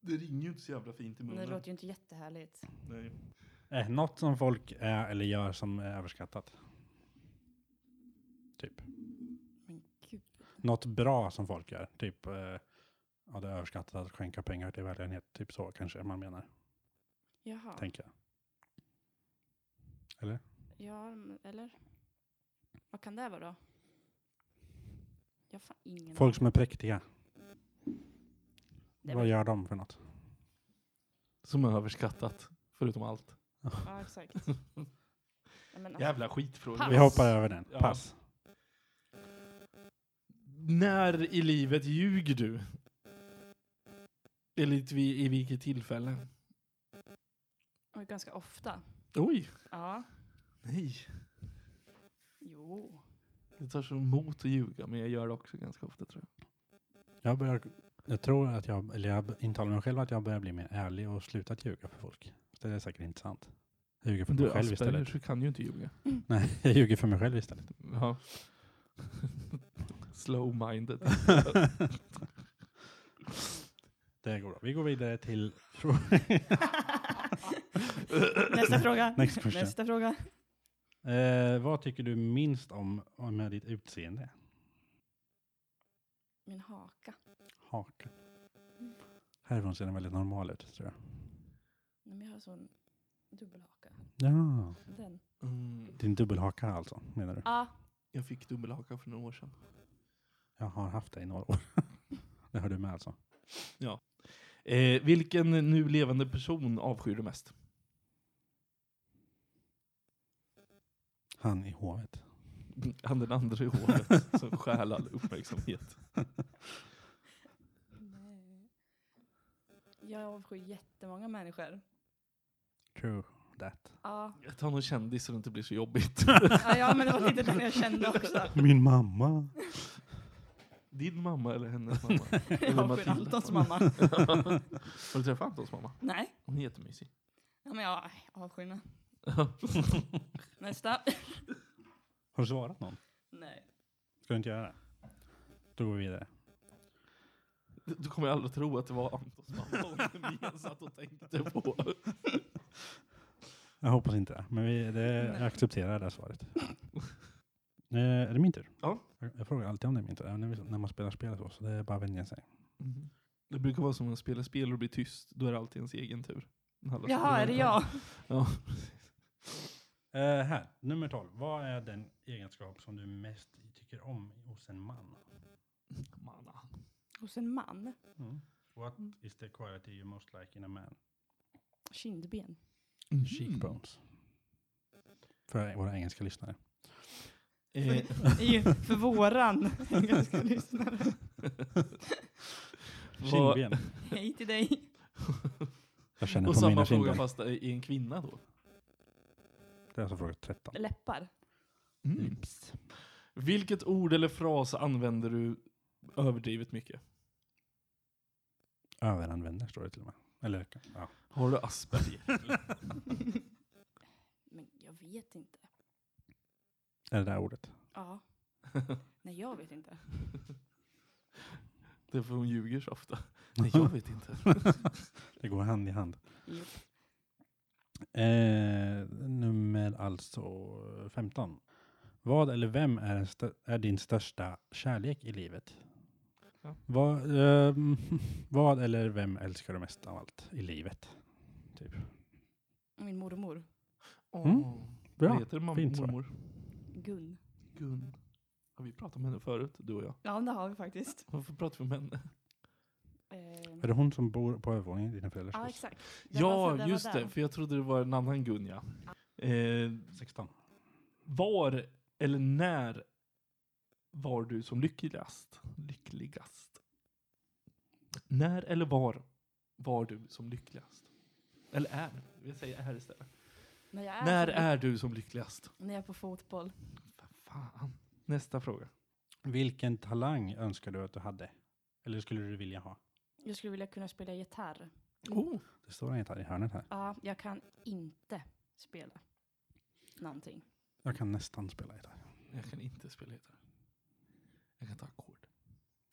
[SPEAKER 1] Det ringer ju inte så jävla fint i
[SPEAKER 4] Men det
[SPEAKER 1] munnen.
[SPEAKER 4] låter ju inte jättehärligt.
[SPEAKER 1] Nej.
[SPEAKER 2] Eh, något som folk är eller gör som är överskattat. Typ.
[SPEAKER 4] Men gud.
[SPEAKER 2] Något bra som folk gör. Typ, eh, ja det är överskattat att skänka pengar till välgörenhet. Typ så kanske man menar,
[SPEAKER 4] Jaha.
[SPEAKER 2] tänker jag.
[SPEAKER 4] Ja, m- eller? Vad kan det vara då? Jag har fan ingen
[SPEAKER 2] Folk som är präktiga,
[SPEAKER 4] Det är
[SPEAKER 2] vad
[SPEAKER 4] väl-
[SPEAKER 2] gör de för något?
[SPEAKER 1] Som är överskattat. Förutom allt.
[SPEAKER 4] Ja, exakt. Nej, men, alltså,
[SPEAKER 1] Jävla skitfråga.
[SPEAKER 4] Pass.
[SPEAKER 2] Vi hoppar över den.
[SPEAKER 1] Ja.
[SPEAKER 2] Pass.
[SPEAKER 1] När i livet ljuger du? Enligt vi, i vilket tillfälle?
[SPEAKER 4] och ganska ofta.
[SPEAKER 1] Oj!
[SPEAKER 4] Ja.
[SPEAKER 1] Nej.
[SPEAKER 4] Jo.
[SPEAKER 1] Det tar så emot att ljuga, men jag gör det också ganska ofta tror jag.
[SPEAKER 2] Jag, börjar, jag tror att jag, eller jag intalar mig själv att jag börjar bli mer ärlig och slutat ljuga för folk. Så det är säkert inte sant. Jag ljuger för mig
[SPEAKER 1] du Asperger
[SPEAKER 2] själv istället.
[SPEAKER 1] så kan ju inte ljuga.
[SPEAKER 2] Nej, jag ljuger för mig själv istället.
[SPEAKER 1] Ja. Slow-minded.
[SPEAKER 2] Det går bra. Vi går vidare till
[SPEAKER 4] Nästa fråga.
[SPEAKER 2] next question.
[SPEAKER 4] Nästa fråga.
[SPEAKER 2] Eh, vad tycker du minst om om med ditt utseende?
[SPEAKER 4] Min haka.
[SPEAKER 2] Hakan. Härifrån ser den väldigt normal ut tror jag.
[SPEAKER 4] Nej, men jag har sån dubbelhaka.
[SPEAKER 2] Ja.
[SPEAKER 4] Den.
[SPEAKER 1] Mm,
[SPEAKER 2] Din dubbelhaka alltså, menar du?
[SPEAKER 4] Ja.
[SPEAKER 1] jag fick dubbelhaka för några år sedan.
[SPEAKER 2] Jag har haft det i några år. det hör du med alltså.
[SPEAKER 1] Eh, vilken nu levande person avskyr du mest?
[SPEAKER 2] Han i hovet.
[SPEAKER 1] Han den andra i håret som stjäl all uppmärksamhet.
[SPEAKER 4] Nej. Jag avskyr jättemånga människor.
[SPEAKER 2] True that.
[SPEAKER 4] Ja.
[SPEAKER 1] Jag tar någon kändis så det inte blir så jobbigt.
[SPEAKER 4] ja, ja, men det var lite den jag kände också.
[SPEAKER 2] Min mamma.
[SPEAKER 1] Din mamma eller hennes mamma?
[SPEAKER 4] Jag
[SPEAKER 1] Eller
[SPEAKER 4] avskyr Antons mamma.
[SPEAKER 1] Har du träffat Antons mamma?
[SPEAKER 4] Nej.
[SPEAKER 1] Hon är jättemysig.
[SPEAKER 4] Ja, men jag avskyr henne. Nästa.
[SPEAKER 2] Har du svarat någon?
[SPEAKER 4] Nej.
[SPEAKER 2] Ska du inte göra det? Då går vi vidare.
[SPEAKER 1] Du kommer jag aldrig tro att det var Antons mamma hon ens satt och tänkte på.
[SPEAKER 2] Jag hoppas inte det, men vi, det, jag
[SPEAKER 4] Nej.
[SPEAKER 2] accepterar det här svaret. eh, är det min tur?
[SPEAKER 1] Ja.
[SPEAKER 2] Jag, jag frågar alltid om det är min tur, även när, vi, när man spelar spel och så, så det är bara att vänja sig.
[SPEAKER 1] Mhm. Det brukar vara som när man spelar spel och blir tyst, då är det alltid ens egen tur. När alla
[SPEAKER 4] Jaha,
[SPEAKER 1] spelar
[SPEAKER 4] är det
[SPEAKER 1] väntar.
[SPEAKER 4] jag?
[SPEAKER 1] Ja.
[SPEAKER 2] Eh, här, nummer 12. Vad är den egenskap som du mest tycker om hos en man?
[SPEAKER 1] Manna.
[SPEAKER 4] Hos en man?
[SPEAKER 2] Mm. What is the quality you most like in a man?
[SPEAKER 4] Kindben.
[SPEAKER 2] Mm. Cheekbones. För våra engelska lyssnare.
[SPEAKER 1] Eh,
[SPEAKER 4] Det är ju för våran. Jag ska lyssna.
[SPEAKER 1] vad,
[SPEAKER 2] Kindben.
[SPEAKER 4] Hej till dig.
[SPEAKER 2] Jag känner
[SPEAKER 1] Och
[SPEAKER 2] på
[SPEAKER 1] samma
[SPEAKER 2] mina
[SPEAKER 1] fråga
[SPEAKER 2] kinder.
[SPEAKER 1] fast i en kvinna då.
[SPEAKER 2] Det är alltså fråga 13.
[SPEAKER 4] Läppar.
[SPEAKER 1] Mm. Vilket ord eller fras använder du överdrivet mycket?
[SPEAKER 2] Överanvänder står det till och med. Eller, ja.
[SPEAKER 1] Har du Asperger?
[SPEAKER 4] Men jag vet inte.
[SPEAKER 2] Är det där ordet?
[SPEAKER 4] Ja. Nej, jag vet inte.
[SPEAKER 1] det är för hon ljuger så ofta. Nej, jag vet inte.
[SPEAKER 2] Det går hand i hand.
[SPEAKER 4] Jo.
[SPEAKER 2] Eh, nummer alltså 15. Vad eller vem är, en stö- är din största kärlek i livet?
[SPEAKER 1] Ja.
[SPEAKER 2] Vad, ehm, vad eller vem älskar du mest av allt i livet? Typ.
[SPEAKER 4] Min mormor.
[SPEAKER 2] Mm.
[SPEAKER 1] Åh, Vad
[SPEAKER 2] Bra.
[SPEAKER 1] heter det, mam-
[SPEAKER 2] Fint svar.
[SPEAKER 1] mormor?
[SPEAKER 4] Gun.
[SPEAKER 1] Gun. Har vi pratat om henne förut, du och jag?
[SPEAKER 4] Ja, men det har vi faktiskt.
[SPEAKER 1] Varför pratar vi om henne?
[SPEAKER 4] Ehm,
[SPEAKER 2] Är det hon som bor på övervåningen i dina föräldrars
[SPEAKER 4] ja,
[SPEAKER 2] hus?
[SPEAKER 4] exakt. Den var-
[SPEAKER 1] Ja,
[SPEAKER 4] den var
[SPEAKER 1] just det.
[SPEAKER 4] den.
[SPEAKER 1] För jag trodde det var en annan Gun, ja. Eh,
[SPEAKER 2] 16.
[SPEAKER 1] var eller när var du som lyckligast? Lyckligast. När eller var var du som lyckligast? Eller är. Jag säger är istället.
[SPEAKER 4] När jag är,
[SPEAKER 1] när
[SPEAKER 4] på,
[SPEAKER 1] är du som lyckligast?
[SPEAKER 4] När jag är på fotboll.
[SPEAKER 1] Fan. Nästa fråga.
[SPEAKER 2] Vilken talang önskar du att du hade? Eller skulle du vilja ha?
[SPEAKER 4] Jag skulle vilja kunna spela gitarr.
[SPEAKER 1] Oh.
[SPEAKER 2] Det står en gitarr i hörnet här.
[SPEAKER 4] Ja, jag kan inte spela någonting.
[SPEAKER 2] Jag kan nästan spela gitarr.
[SPEAKER 1] Jag kan inte spela gitarr. Jag kan ta ackord.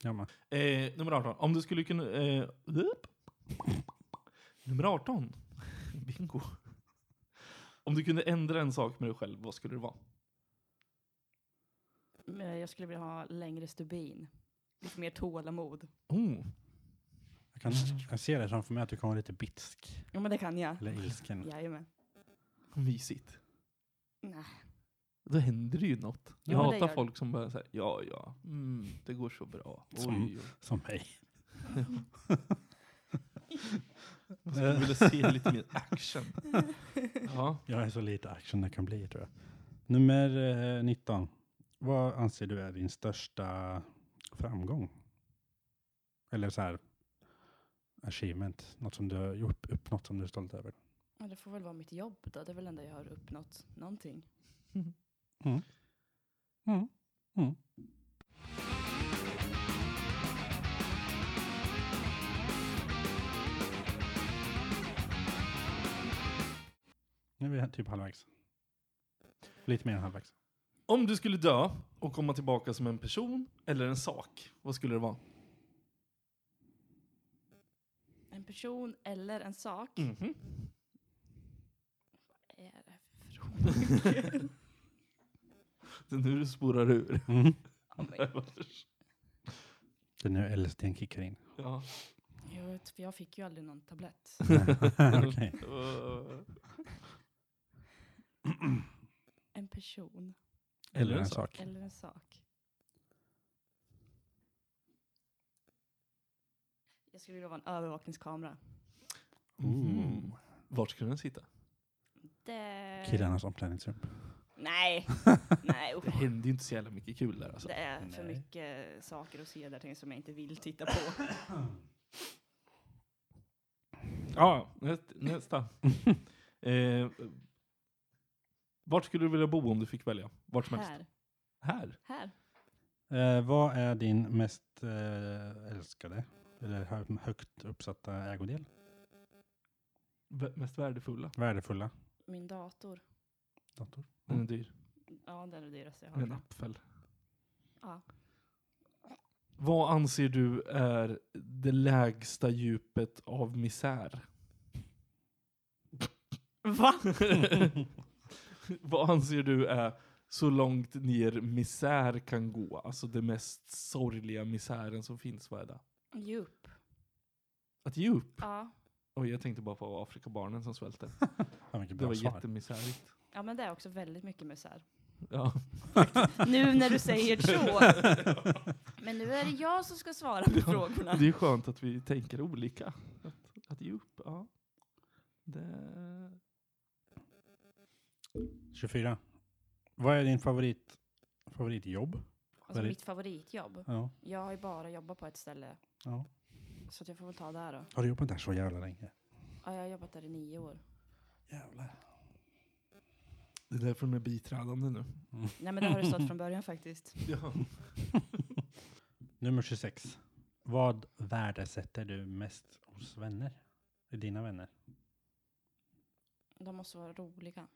[SPEAKER 2] Jag med.
[SPEAKER 1] Eh, nummer 18. Om du skulle kunna... Eh, upp. nummer 18. Bingo. Om du kunde ändra en sak med dig själv, vad skulle det vara?
[SPEAKER 4] Men jag skulle vilja ha längre stubin. Lite mer tålamod.
[SPEAKER 1] Oh.
[SPEAKER 2] Jag, kan, jag ser det framför mig att du kommer vara lite bitsk.
[SPEAKER 4] Ja, men det kan jag.
[SPEAKER 2] Eller ilsken.
[SPEAKER 4] Jajamän.
[SPEAKER 1] Mysigt.
[SPEAKER 4] Nej.
[SPEAKER 1] Då händer det ju något.
[SPEAKER 4] Ja,
[SPEAKER 1] Jag
[SPEAKER 4] men det
[SPEAKER 1] hatar
[SPEAKER 4] gör
[SPEAKER 1] folk som bara säger ja, ja, mm, det går så bra.
[SPEAKER 2] Som-
[SPEAKER 1] Oj, oj.
[SPEAKER 2] Som mig.
[SPEAKER 1] Jag skulle vilja se lite mer action. Ja.
[SPEAKER 2] Jag är så lite action det kan bli tror jag. Nummer eh, 19. Vad anser du är din största framgång? Eller så här achievement, något som du har gjort, uppnått som du är stolt över.
[SPEAKER 4] Ja, det får väl vara mitt jobb då. Det är väl det enda jag har uppnått någonting.
[SPEAKER 2] Mm. Nu är vi här typ halvvägs. Lite mer än halvvägs.
[SPEAKER 1] Om du skulle dö och komma tillbaka som en person eller en sak, vad skulle det vara?
[SPEAKER 4] En person eller en sak.
[SPEAKER 1] Mhm.
[SPEAKER 4] Vad är det för frågor?
[SPEAKER 1] Det är nu du spårar ur.
[SPEAKER 4] Ja, men
[SPEAKER 2] Det är nu LSDn kickar in.
[SPEAKER 1] ja.
[SPEAKER 4] jag, vet, för jag fick ju aldrig någon tablett.
[SPEAKER 2] Okej.
[SPEAKER 1] Eh,
[SPEAKER 4] En person
[SPEAKER 2] Eller en sak.
[SPEAKER 4] eller en sak. Jag skulle vilja vara en övervakningskamera.
[SPEAKER 1] Mhm. Vart skulle den sitta?
[SPEAKER 4] Det...
[SPEAKER 2] Killarnas omklädningsrum.
[SPEAKER 4] Nej, nej
[SPEAKER 1] Det
[SPEAKER 4] usch.
[SPEAKER 1] händer ju inte så jävla mycket kul där alltså.
[SPEAKER 4] Det är för
[SPEAKER 2] Nej.
[SPEAKER 4] mycket saker att se där ting som jag inte vill titta på.
[SPEAKER 1] Ja, nä- nästa. eh, vart skulle du vilja bo om du fick välja? Vart som helst?
[SPEAKER 4] Här,
[SPEAKER 1] Här.
[SPEAKER 4] här.
[SPEAKER 2] Eh, vad är din mest eh, älskade eller hö- högt uppsatta ägodel?
[SPEAKER 1] V- mest värdefulla.
[SPEAKER 2] Värdefulla
[SPEAKER 4] Min dator.
[SPEAKER 2] dator.
[SPEAKER 1] Den är dyr.
[SPEAKER 4] Ja, den är det dyraste jag har.
[SPEAKER 1] En apfel.
[SPEAKER 4] Ja.
[SPEAKER 1] Vad anser du är det lägsta djupet av misär? Va? Vad anser du är så långt ner misär kan gå? Alltså det mest sorgliga misären som finns, vad är det?
[SPEAKER 4] Djup.
[SPEAKER 1] Att ge upp?
[SPEAKER 4] Ja.
[SPEAKER 1] Oj, jag tänkte bara på Afrikabarnen som svälter.
[SPEAKER 2] Ja, vilket
[SPEAKER 1] Det
[SPEAKER 2] bra
[SPEAKER 1] var
[SPEAKER 2] svar.
[SPEAKER 1] jättemisärigt.
[SPEAKER 4] ja, men det är också väldigt mycket misär.
[SPEAKER 1] Ja.
[SPEAKER 4] Nu när du säger så. Men nu är det jag som ska svara på frågorna.
[SPEAKER 1] Det är skönt att vi tänker olika. Att, att ge upp, ja. Det...
[SPEAKER 2] 24. Vad är din favorit, favoritjobb?
[SPEAKER 4] Alltså
[SPEAKER 2] väldigt-
[SPEAKER 4] mitt favoritjobb.
[SPEAKER 2] Ja.
[SPEAKER 4] Jag har ju bara jobbat på ett ställe.
[SPEAKER 2] ja.
[SPEAKER 4] Så att jag får väl ta det här då.
[SPEAKER 2] Har du jobbat där så jävla länge?
[SPEAKER 4] Ja, jag har jobbat där i nio år.
[SPEAKER 2] Jävlar.
[SPEAKER 1] Det är därför de är biträdande nu.
[SPEAKER 4] Nej, men det har det stått från början faktiskt.
[SPEAKER 1] Ja.
[SPEAKER 2] Nummer 26. Vad värdesätter du mest hos vänner? I dina vänner?
[SPEAKER 4] De måste vara roliga.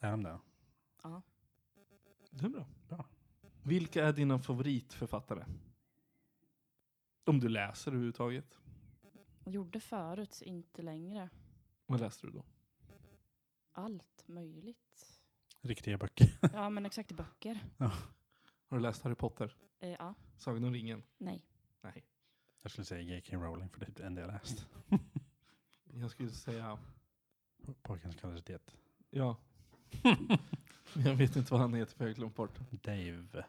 [SPEAKER 2] Är de det?
[SPEAKER 4] Ja.
[SPEAKER 1] Det är bra.
[SPEAKER 2] Bra.
[SPEAKER 1] Vilka är dina favoritförfattare? Om du läser överhuvudtaget.
[SPEAKER 4] Jag gjorde förut, så inte längre.
[SPEAKER 1] Vad läser du då?
[SPEAKER 4] Allt möjligt.
[SPEAKER 2] Riktiga böcker.
[SPEAKER 4] Ja, men exakt böcker.
[SPEAKER 1] Har du läst Harry Potter?
[SPEAKER 4] Eh, ja,
[SPEAKER 1] Sagan om ringen?
[SPEAKER 4] nej.
[SPEAKER 1] Nej.
[SPEAKER 2] Jag skulle säga J.K. Rowling för det är det enda jag läst.
[SPEAKER 1] Jag skulle säga...
[SPEAKER 2] Pojkens kapacitet.
[SPEAKER 1] Ja. jag vet inte vad han heter för jag har glömt bort.
[SPEAKER 2] Dave.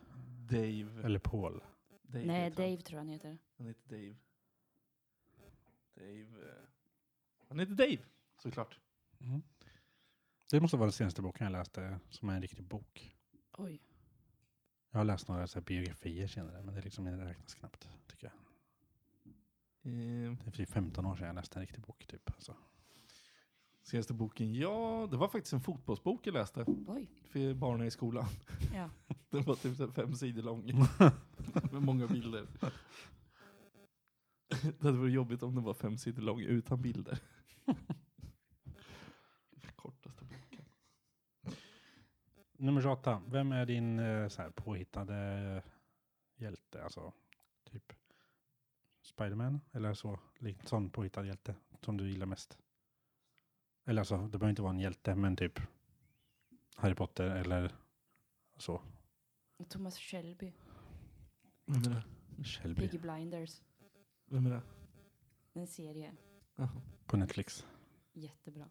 [SPEAKER 1] Dave.
[SPEAKER 2] Eller Paul.
[SPEAKER 1] Dave
[SPEAKER 4] nej,
[SPEAKER 1] heter han.
[SPEAKER 4] Dave tror jag han heter.
[SPEAKER 1] Han heter Dave. Dave. eh, Han heter Dave, såklart.
[SPEAKER 2] Mm. Det måste vara den senaste boken jag läste som är en riktig bok.
[SPEAKER 4] Oj.
[SPEAKER 2] Jag har läst några så här biografier senare men det är liksom det räknas knappt tycker jag.
[SPEAKER 1] Eh,
[SPEAKER 2] Det är typ 15 år sedan jag läste en riktig bok typ. Alltså.
[SPEAKER 1] senaste boken, ja, det var faktiskt en fotbollsbok jag läste
[SPEAKER 4] Oj.
[SPEAKER 1] för barnen i skolan.
[SPEAKER 4] Ja.
[SPEAKER 1] Den var typ så här fem sidor lång. Med många bilder. Det hade varit jobbigt om den var fem sidor lång utan bilder. Kortaste boken.
[SPEAKER 2] Nummer 28. Vem är din eh, så här, påhittade hjälte? Alltså typ Spiderman eller så. Likt sån påhittad hjälte som du gillar mest. Eller alltså, det behöver inte vara en hjälte men typ Harry Potter eller så.
[SPEAKER 4] Thomas Shelby.
[SPEAKER 1] Vem är det?
[SPEAKER 2] Shelby
[SPEAKER 4] Piggy Blinders.
[SPEAKER 1] Vem är det?
[SPEAKER 4] En serie.
[SPEAKER 1] Jaha.
[SPEAKER 2] på Netflix.
[SPEAKER 4] Jättebra.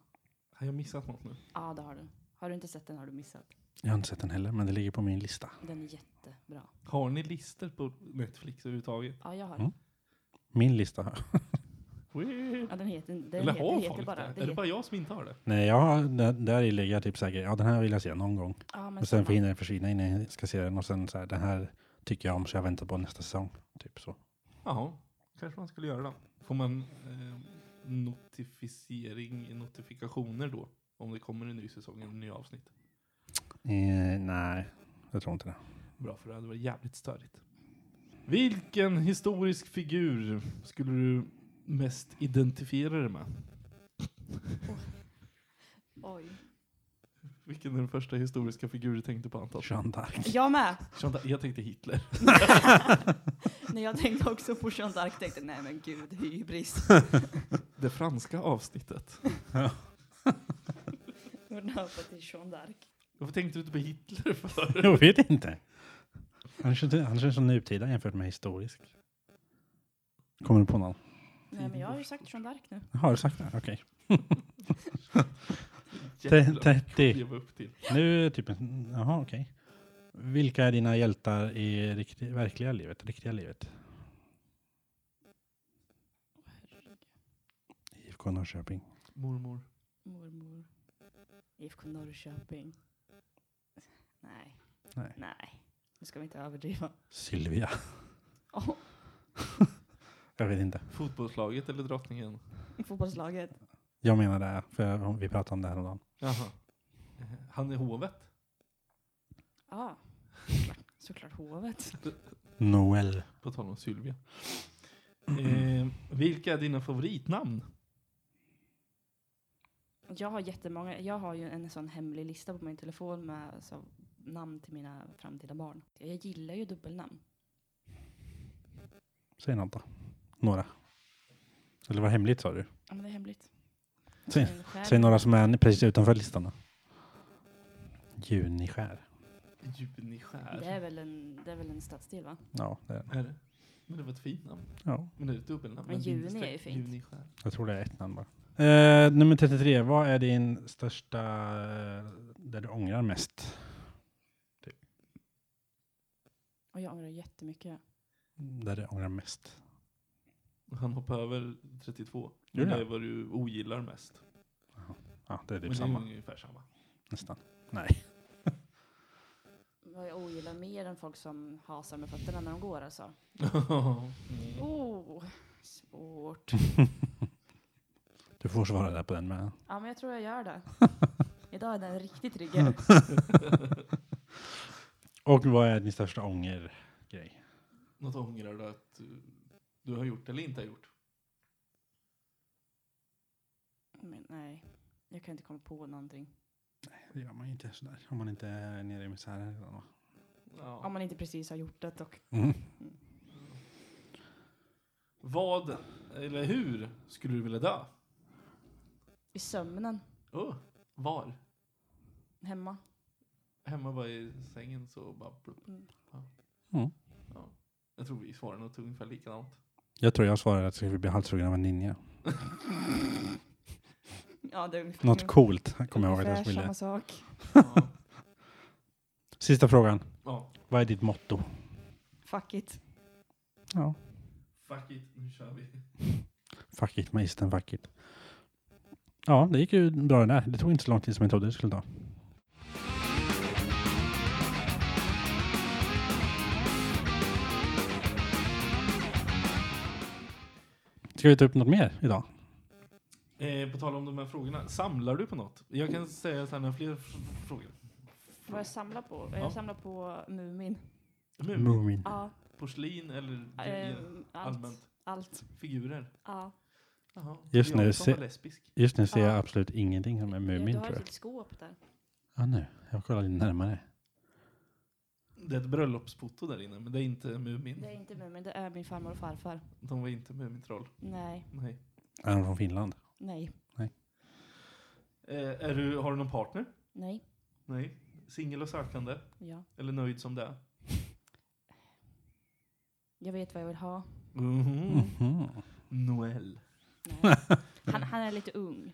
[SPEAKER 1] Har jag missat något nu?
[SPEAKER 4] Ja, det har du. Har du inte sett den har du missat.
[SPEAKER 2] Jag har inte sett den heller men det ligger på min lista.
[SPEAKER 4] Den är jättebra.
[SPEAKER 1] Har ni listor på Netflix överhuvudtaget?
[SPEAKER 4] Ja, jag har
[SPEAKER 2] Mm.
[SPEAKER 4] den.
[SPEAKER 2] Min lista.
[SPEAKER 4] Ja, den heter, den
[SPEAKER 1] Eller
[SPEAKER 4] heter,
[SPEAKER 1] har
[SPEAKER 4] heter
[SPEAKER 1] folk
[SPEAKER 4] bara...
[SPEAKER 1] det?
[SPEAKER 4] det
[SPEAKER 1] Är det
[SPEAKER 4] heter-
[SPEAKER 1] bara jag som inte har det?
[SPEAKER 2] Nej, jag har, där, där i lägger jag typ säkert, ja den här vill jag se någon gång.
[SPEAKER 4] Ja, men
[SPEAKER 2] Och sen
[SPEAKER 4] samma.
[SPEAKER 2] får hinner den försvinna innan jag ska se den. Och sen så här, den här tycker jag om så jag väntar på nästa säsong. Typ så.
[SPEAKER 1] Jaha, kanske man skulle göra det. Får man eh, notificering, notifikationer då? Om det kommer en ny säsong eller en ny avsnitt.
[SPEAKER 2] Eh, nej, jag tror inte det.
[SPEAKER 1] Bra, för det hade varit jävligt störigt. Vilken historisk figur skulle du mest identifiera dig med?
[SPEAKER 4] Oj.
[SPEAKER 1] Vilken är den första historiska figur du tänkte på antar jag?
[SPEAKER 2] Jeanne d'Arc.
[SPEAKER 4] Jag med!
[SPEAKER 1] Jean- Jag tänkte Hitler.
[SPEAKER 4] Nej, jag tänkte också på Jeanne d'Arc. Tänkte, nej men gud, hybris.
[SPEAKER 1] Det franska avsnittet.
[SPEAKER 4] Hon hoppade till Jeanne d'Arc.
[SPEAKER 1] Varför tänkte du inte på Hitler för?
[SPEAKER 2] Jag vet inte. Han känns, han känns som nutida jämfört med historisk. Kommer du på någon?
[SPEAKER 4] Nej, men jag har ju sagt Jeanne d'Arc nu.
[SPEAKER 2] Har du sagt det? Okej.
[SPEAKER 1] Jävlar,
[SPEAKER 2] 30.
[SPEAKER 1] leva upp till.
[SPEAKER 2] Nu är typ en... Jaha, okej. Vilka är dina hjältar i riktig, verkliga livet? Riktiga livet? IFK Norrköping.
[SPEAKER 1] Mormor.
[SPEAKER 4] Mormor. IFK Norrköping. Nej.
[SPEAKER 2] Nej.
[SPEAKER 4] Nej. Nu ska vi inte överdriva.
[SPEAKER 2] Sylvia.
[SPEAKER 4] Åh,
[SPEAKER 2] Jag vet inte.
[SPEAKER 1] Fotbollslaget eller drottningen?
[SPEAKER 4] fotbollslaget.
[SPEAKER 2] Jag menar det, här, för jag- vi pratade om det här om dagen.
[SPEAKER 1] Jaha. Eh, Han är hovet.
[SPEAKER 4] Ja. Såklart- Såklart hovet.
[SPEAKER 2] Noel.
[SPEAKER 1] På tal om Sylvia. Eh, vilka är dina favoritnamn?
[SPEAKER 4] Jag har jättemånga. Jag har ju en sån hemlig lista på min telefon med så, namn till mina framtida barn. Jag gillar ju dubbelnamn.
[SPEAKER 2] Säg något då. Några. Eller vad hemligt sa du?
[SPEAKER 4] Ja, men det är hemligt.
[SPEAKER 2] Säg-
[SPEAKER 4] En skär-
[SPEAKER 2] Säg några som är precis utanför listan då. Juniskär.
[SPEAKER 1] Juniskär.
[SPEAKER 4] Det är väl en, det är väl en stadsdel va?
[SPEAKER 2] Ja, det är det.
[SPEAKER 1] Är det? Men det var ett fint namn.
[SPEAKER 2] ja,
[SPEAKER 1] Men det är ett dubbelnamn.
[SPEAKER 4] Men
[SPEAKER 1] Men det
[SPEAKER 4] juni
[SPEAKER 1] inte streck-
[SPEAKER 4] är ju fint.
[SPEAKER 1] Juniskär.
[SPEAKER 2] jag tror det är ett namn bara. Eh, nummer 33. Vad är din största, eh, där du ångrar mest?
[SPEAKER 4] Och jag ångrar jättemycket.
[SPEAKER 2] Där du ångrar mest?
[SPEAKER 1] Han hoppade över 32.
[SPEAKER 2] Gjorde
[SPEAKER 1] Men det
[SPEAKER 2] han?
[SPEAKER 1] är vad du ogillar mest.
[SPEAKER 2] Ja, det är
[SPEAKER 1] Men
[SPEAKER 2] typ
[SPEAKER 1] det är ju
[SPEAKER 2] samma.
[SPEAKER 1] ungefär samma.
[SPEAKER 2] Nästan. Nej.
[SPEAKER 4] Vad jag ogillar mer än folk som hasar med fötterna när de går alltså.
[SPEAKER 1] Mm.
[SPEAKER 4] Oh, svårt.
[SPEAKER 2] Du får svara där på den med.
[SPEAKER 4] Ja, men jag tror jag gör det. Idag är den riktigt
[SPEAKER 2] Mm.
[SPEAKER 4] trigger.
[SPEAKER 2] Och vad är din största ångergrej?
[SPEAKER 1] Något ångrar du att du, du har gjort eller inte har gjort?
[SPEAKER 4] Men nej, jag kan inte komma på någonting.
[SPEAKER 2] Det gör man ju inte sådär om man inte är nere i misären redan va?
[SPEAKER 4] Om man inte precis har gjort det och
[SPEAKER 2] Mm.
[SPEAKER 1] Vad, eller hur, skulle du vilja dö?
[SPEAKER 4] i sömnen
[SPEAKER 1] Oh, var?
[SPEAKER 4] hemma.
[SPEAKER 1] Hemma bara i sängen så bara... Blup.
[SPEAKER 4] Mm.
[SPEAKER 2] Mm.
[SPEAKER 1] Jag tror vi svarar något ungefär likadant.
[SPEAKER 2] Jag tror jag svarade att jag skulle bli halshuggen av en ninja.
[SPEAKER 4] Ja, det är ungefär,
[SPEAKER 2] Något coolt kommer jag ihåg att
[SPEAKER 4] ungefär
[SPEAKER 2] jag skulle.
[SPEAKER 4] samma sak.
[SPEAKER 1] Ja.
[SPEAKER 2] Sista frågan.
[SPEAKER 1] ja.
[SPEAKER 2] Vad är ditt motto?
[SPEAKER 4] Fuck it.
[SPEAKER 2] Ja.
[SPEAKER 1] Fuck it, nu kör vi.
[SPEAKER 2] Fuck it, magistern, fuck it. Ja, det gick ju bra det där. Det tog inte så lång tid som jag trodde det skulle ta. Ska vi ta upp något mer idag?
[SPEAKER 1] Eh, på tal om de här frågorna, samlar du på något? Jag kan säga så här, när fler f- frågor.
[SPEAKER 4] Vad jag samlar på?
[SPEAKER 1] Ja.
[SPEAKER 4] Jag samlar på Mumin.
[SPEAKER 1] Mumien,
[SPEAKER 2] Moomin.
[SPEAKER 4] Ja,
[SPEAKER 1] porslin eller grejer?
[SPEAKER 4] ehm, allt.
[SPEAKER 1] allmänt?
[SPEAKER 4] Allt.
[SPEAKER 1] Figurer?
[SPEAKER 4] Ja.
[SPEAKER 1] Jaha.
[SPEAKER 2] Just nu
[SPEAKER 1] jag som
[SPEAKER 2] se-
[SPEAKER 1] var lesbisk.
[SPEAKER 2] Just nu ser
[SPEAKER 4] Ja.
[SPEAKER 2] jag absolut ingenting som är
[SPEAKER 4] du
[SPEAKER 2] Moomin
[SPEAKER 4] har
[SPEAKER 2] tror
[SPEAKER 4] ett
[SPEAKER 2] jag.
[SPEAKER 4] litet skåp där.
[SPEAKER 2] Ja, nu. Jag kollar lite närmare.
[SPEAKER 1] Det är ett bröllopsfoto där inne, men det är inte Mumin.
[SPEAKER 4] Det är inte Mumin, det är min farmor och farfar.
[SPEAKER 1] De var inte Mumintroll.
[SPEAKER 4] Nej,
[SPEAKER 1] Nej.
[SPEAKER 2] Är han från Finland?
[SPEAKER 4] nej,
[SPEAKER 1] Eh, är du, har du någon partner?
[SPEAKER 4] nej,
[SPEAKER 1] Nej. Singel och sökande?
[SPEAKER 4] ja.
[SPEAKER 1] Eller nöjd som det är?
[SPEAKER 4] Jag vet vad jag vill ha. Mm.
[SPEAKER 1] Mhm.
[SPEAKER 2] Mhm.
[SPEAKER 1] Noel.
[SPEAKER 4] Nej. Han, han är lite ung.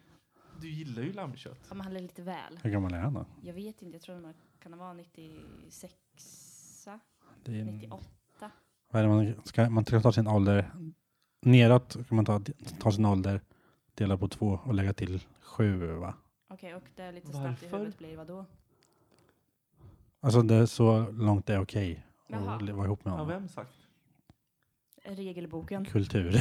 [SPEAKER 1] Du gillar ju lammkött.
[SPEAKER 4] Ja, men han är lite väl.
[SPEAKER 2] Hur gammal är han då?
[SPEAKER 4] Jag vet inte, jag tror man kan vara 96,
[SPEAKER 2] Det är,
[SPEAKER 4] 98.
[SPEAKER 2] vad är det man, ska, man ska ta sin ålder neråt, så kan man ta, ta sin ålder, dela på två och lägga till sju va?
[SPEAKER 4] Okej, och det är lite snabbt i
[SPEAKER 1] Varför?
[SPEAKER 4] huvudet blir vad då?
[SPEAKER 2] Alltså det är så långt det är okej
[SPEAKER 4] Jaha.
[SPEAKER 2] att le- vara ihop med
[SPEAKER 1] Har
[SPEAKER 2] honom.
[SPEAKER 1] vem sagt?
[SPEAKER 4] Regelboken.
[SPEAKER 2] Kultur.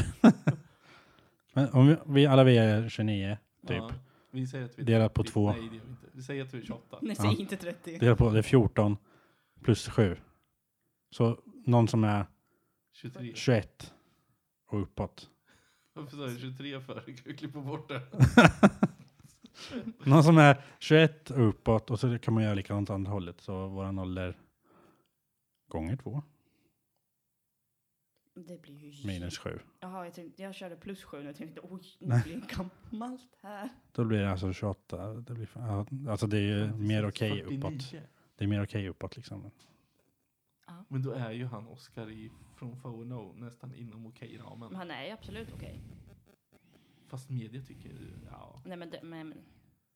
[SPEAKER 2] Men om vi, vi alla vi är 29, Typ.
[SPEAKER 1] Ja, vi säger att vi
[SPEAKER 2] Delat på två.
[SPEAKER 1] Nej, det gör vi inte. Vi säger att du är 28.
[SPEAKER 4] Nej,
[SPEAKER 2] Ja.
[SPEAKER 4] säg inte 30.
[SPEAKER 2] delar på det är 14 plus 7. Så någon som är
[SPEAKER 1] 23.
[SPEAKER 2] 21 och uppåt.
[SPEAKER 1] Varför sa du 23 för? Du kan ju klippa bort det.
[SPEAKER 2] Någon som är 21 och uppåt och så kan man göra likadant åt andra hållet. Så våran ålder gånger två
[SPEAKER 4] Det blir ju...
[SPEAKER 2] minus 7.
[SPEAKER 4] Jaha, jag, tänkte, jag körde plus sju nu och tänkte oj, nu
[SPEAKER 2] Nej.
[SPEAKER 4] blir det gammalt här.
[SPEAKER 2] Då blir det alltså 28. Det blir, ja, alltså det är ju mer okej
[SPEAKER 1] 49.
[SPEAKER 2] uppåt. Det är mer okej uppåt liksom.
[SPEAKER 1] Men då är ju han Oscar i, från Fono nästan inom okej-ramen.
[SPEAKER 4] Men han är ju absolut okej.
[SPEAKER 1] Fast media tycker ju, ja.
[SPEAKER 4] Nej men det, men, men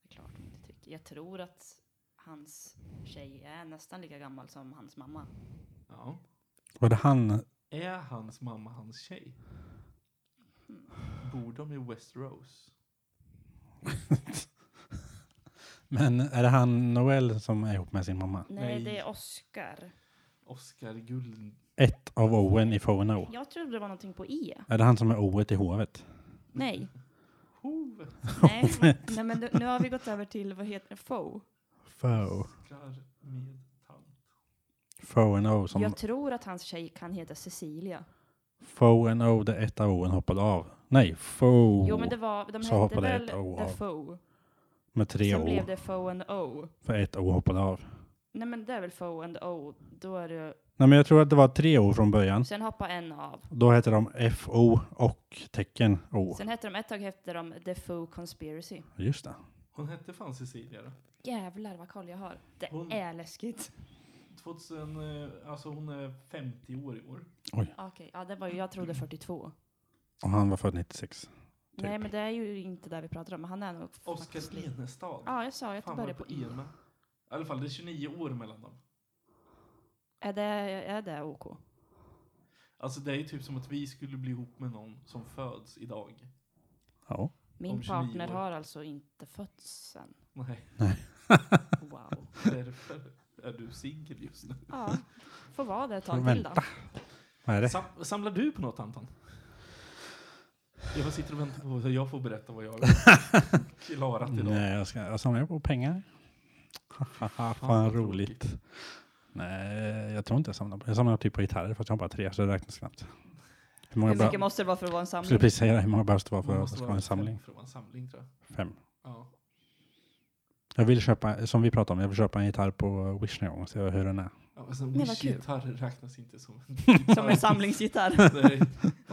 [SPEAKER 4] det är klart de inte tycker. Jag tror att hans tjej är nästan lika gammal som hans mamma.
[SPEAKER 1] ja.
[SPEAKER 2] Var det han?
[SPEAKER 1] Är hans mamma hans tjej?
[SPEAKER 4] Mm.
[SPEAKER 1] Bor de i Westeros?
[SPEAKER 2] Men är det han Noel som är ihop med sin mamma?
[SPEAKER 4] Nej,
[SPEAKER 1] Nej.
[SPEAKER 4] det är Oscar.
[SPEAKER 1] Oscar Guld...
[SPEAKER 2] ett av Owen i Fono.
[SPEAKER 4] Jag trodde det var någonting på E.
[SPEAKER 2] Är det han som är Oet i hovet?
[SPEAKER 4] Nej.
[SPEAKER 1] Ho!
[SPEAKER 4] Nej, Nej men nu, nu har vi gått över till, vad heter det, Faux.
[SPEAKER 2] Fo.
[SPEAKER 1] Oscar med tant.
[SPEAKER 2] Fono som
[SPEAKER 4] Jag tror att hans tjej kan heta Cecilia.
[SPEAKER 2] Fono där ett av Owen hoppade av. Nej, Fo.
[SPEAKER 4] Jo men det var, de
[SPEAKER 2] Oh. Så
[SPEAKER 4] hette
[SPEAKER 2] hoppade
[SPEAKER 4] väl
[SPEAKER 2] ett O av.
[SPEAKER 4] The Faux.
[SPEAKER 2] Med tre
[SPEAKER 4] Sen
[SPEAKER 2] O.
[SPEAKER 4] blev det Faux and O.
[SPEAKER 2] För ett O hoppade av.
[SPEAKER 4] Nej men det är väl Faux and O. Då är det,
[SPEAKER 2] Nej men jag tror att det var tre O från början.
[SPEAKER 4] sen hoppar en av.
[SPEAKER 2] Då hette de FO och tecken O.
[SPEAKER 4] Sen hette de ett tag hette de The Faux Conspiracy.
[SPEAKER 2] Just det.
[SPEAKER 1] Hon hette fan Cecilia då.
[SPEAKER 4] Jävlar vad koll jag har. Det
[SPEAKER 1] Hon-
[SPEAKER 4] är läskigt.
[SPEAKER 1] 2000, eh, alltså hon är 50 år i år.
[SPEAKER 4] Okej, ja det var ju, jag
[SPEAKER 1] Mm.
[SPEAKER 4] trodde 42.
[SPEAKER 2] Och han var född 96.
[SPEAKER 4] Nej men det är ju inte där vi pratar om, men han är nog faktiskt
[SPEAKER 1] Typ. Oscar
[SPEAKER 4] lite-
[SPEAKER 1] Enestad.
[SPEAKER 4] Ja, jag sa ju att det
[SPEAKER 1] Fan var det
[SPEAKER 4] började
[SPEAKER 1] på
[SPEAKER 4] på E I.
[SPEAKER 1] EMA. I alla fall det är 29 år mellan dem.
[SPEAKER 4] Är det, är det OK?
[SPEAKER 1] Alltså det är ju typ som att vi skulle bli ihop med någon som föds idag.
[SPEAKER 2] Ja.
[SPEAKER 1] Om
[SPEAKER 4] Min
[SPEAKER 1] 29
[SPEAKER 4] partner
[SPEAKER 1] år.
[SPEAKER 4] har alltså inte fötts än.
[SPEAKER 1] Nej,
[SPEAKER 4] Wow.
[SPEAKER 1] därför är du singel just nu.
[SPEAKER 4] Ja, får vara det ett
[SPEAKER 2] Får
[SPEAKER 4] tag till då.
[SPEAKER 2] vänta. Vad är det?
[SPEAKER 1] Sam- samlar du på något Anton? Jag bara sitter och väntar på att jag får berätta vad jag har klarat idag.
[SPEAKER 2] Nej, jag, ska, jag samlar ju på pengar. Fan,
[SPEAKER 1] vad
[SPEAKER 2] roligt. Nej, jag tror inte jag samlar på Jag samlar typ på gitarrer fast jag har bara tre så det räknas knappt. Hur många
[SPEAKER 4] Hur
[SPEAKER 2] bra,
[SPEAKER 4] mycket måste det vara för att vara en
[SPEAKER 2] jag
[SPEAKER 4] samling?
[SPEAKER 2] skulle precis säga det, hur många behövs det vara för
[SPEAKER 1] Man
[SPEAKER 2] att det
[SPEAKER 1] måste
[SPEAKER 2] ska
[SPEAKER 1] vara
[SPEAKER 2] vara en samling?
[SPEAKER 1] fem För att vara en samling tror jag.
[SPEAKER 2] Fem.
[SPEAKER 1] Ja.
[SPEAKER 2] Jag vill köpa, som vi pratade om, jag vill köpa en gitarr på Wish någon gång och se hur den är.
[SPEAKER 1] Ja, alltså,
[SPEAKER 4] Men vad kul.
[SPEAKER 1] Wish-gitarr räknas inte som en
[SPEAKER 4] Som en samlingsgitarr.
[SPEAKER 1] Nej.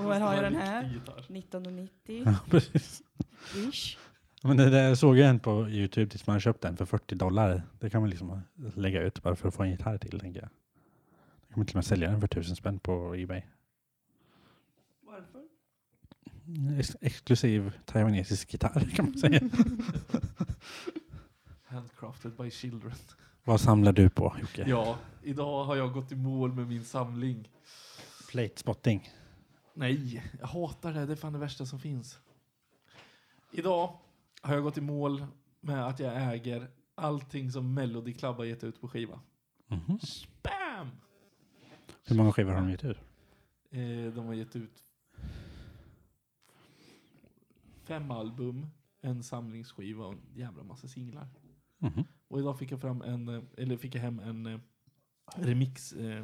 [SPEAKER 4] Och här har jag den
[SPEAKER 1] Riktig
[SPEAKER 4] här.
[SPEAKER 1] gitarr.
[SPEAKER 4] 1990,
[SPEAKER 2] Ja, precis.
[SPEAKER 4] ish.
[SPEAKER 2] Men det där såg jag en på YouTube typ tills man köpte den för 40 dollar. Det kan man liksom lägga ut bara för att få en gitarr till, tänker jag. Jag kommer till och med sälja den för tusen spänn på Ebay.
[SPEAKER 1] Varför?
[SPEAKER 2] Ex- exklusiv taiwanesisk gitarr kan man säga.
[SPEAKER 1] Handcrafted by children.
[SPEAKER 2] Vad samlar du på Jocke?
[SPEAKER 1] Ja, idag har jag gått i mål med min samling.
[SPEAKER 2] Plate spotting.
[SPEAKER 1] Nej, jag hatar det. Det är fan det värsta som finns. Idag har jag gått i mål med att jag äger allting som Melody Club har gett ut på skiva. Bam!
[SPEAKER 2] Mhm. Hur många skivor har de gett ut?
[SPEAKER 1] Eh, de har gett ut fem album, en samlingsskiva och en jävla massa singlar.
[SPEAKER 2] Mhm.
[SPEAKER 1] Och idag fick jag, fram en, eh, eller fick jag hem en eh, remix eh,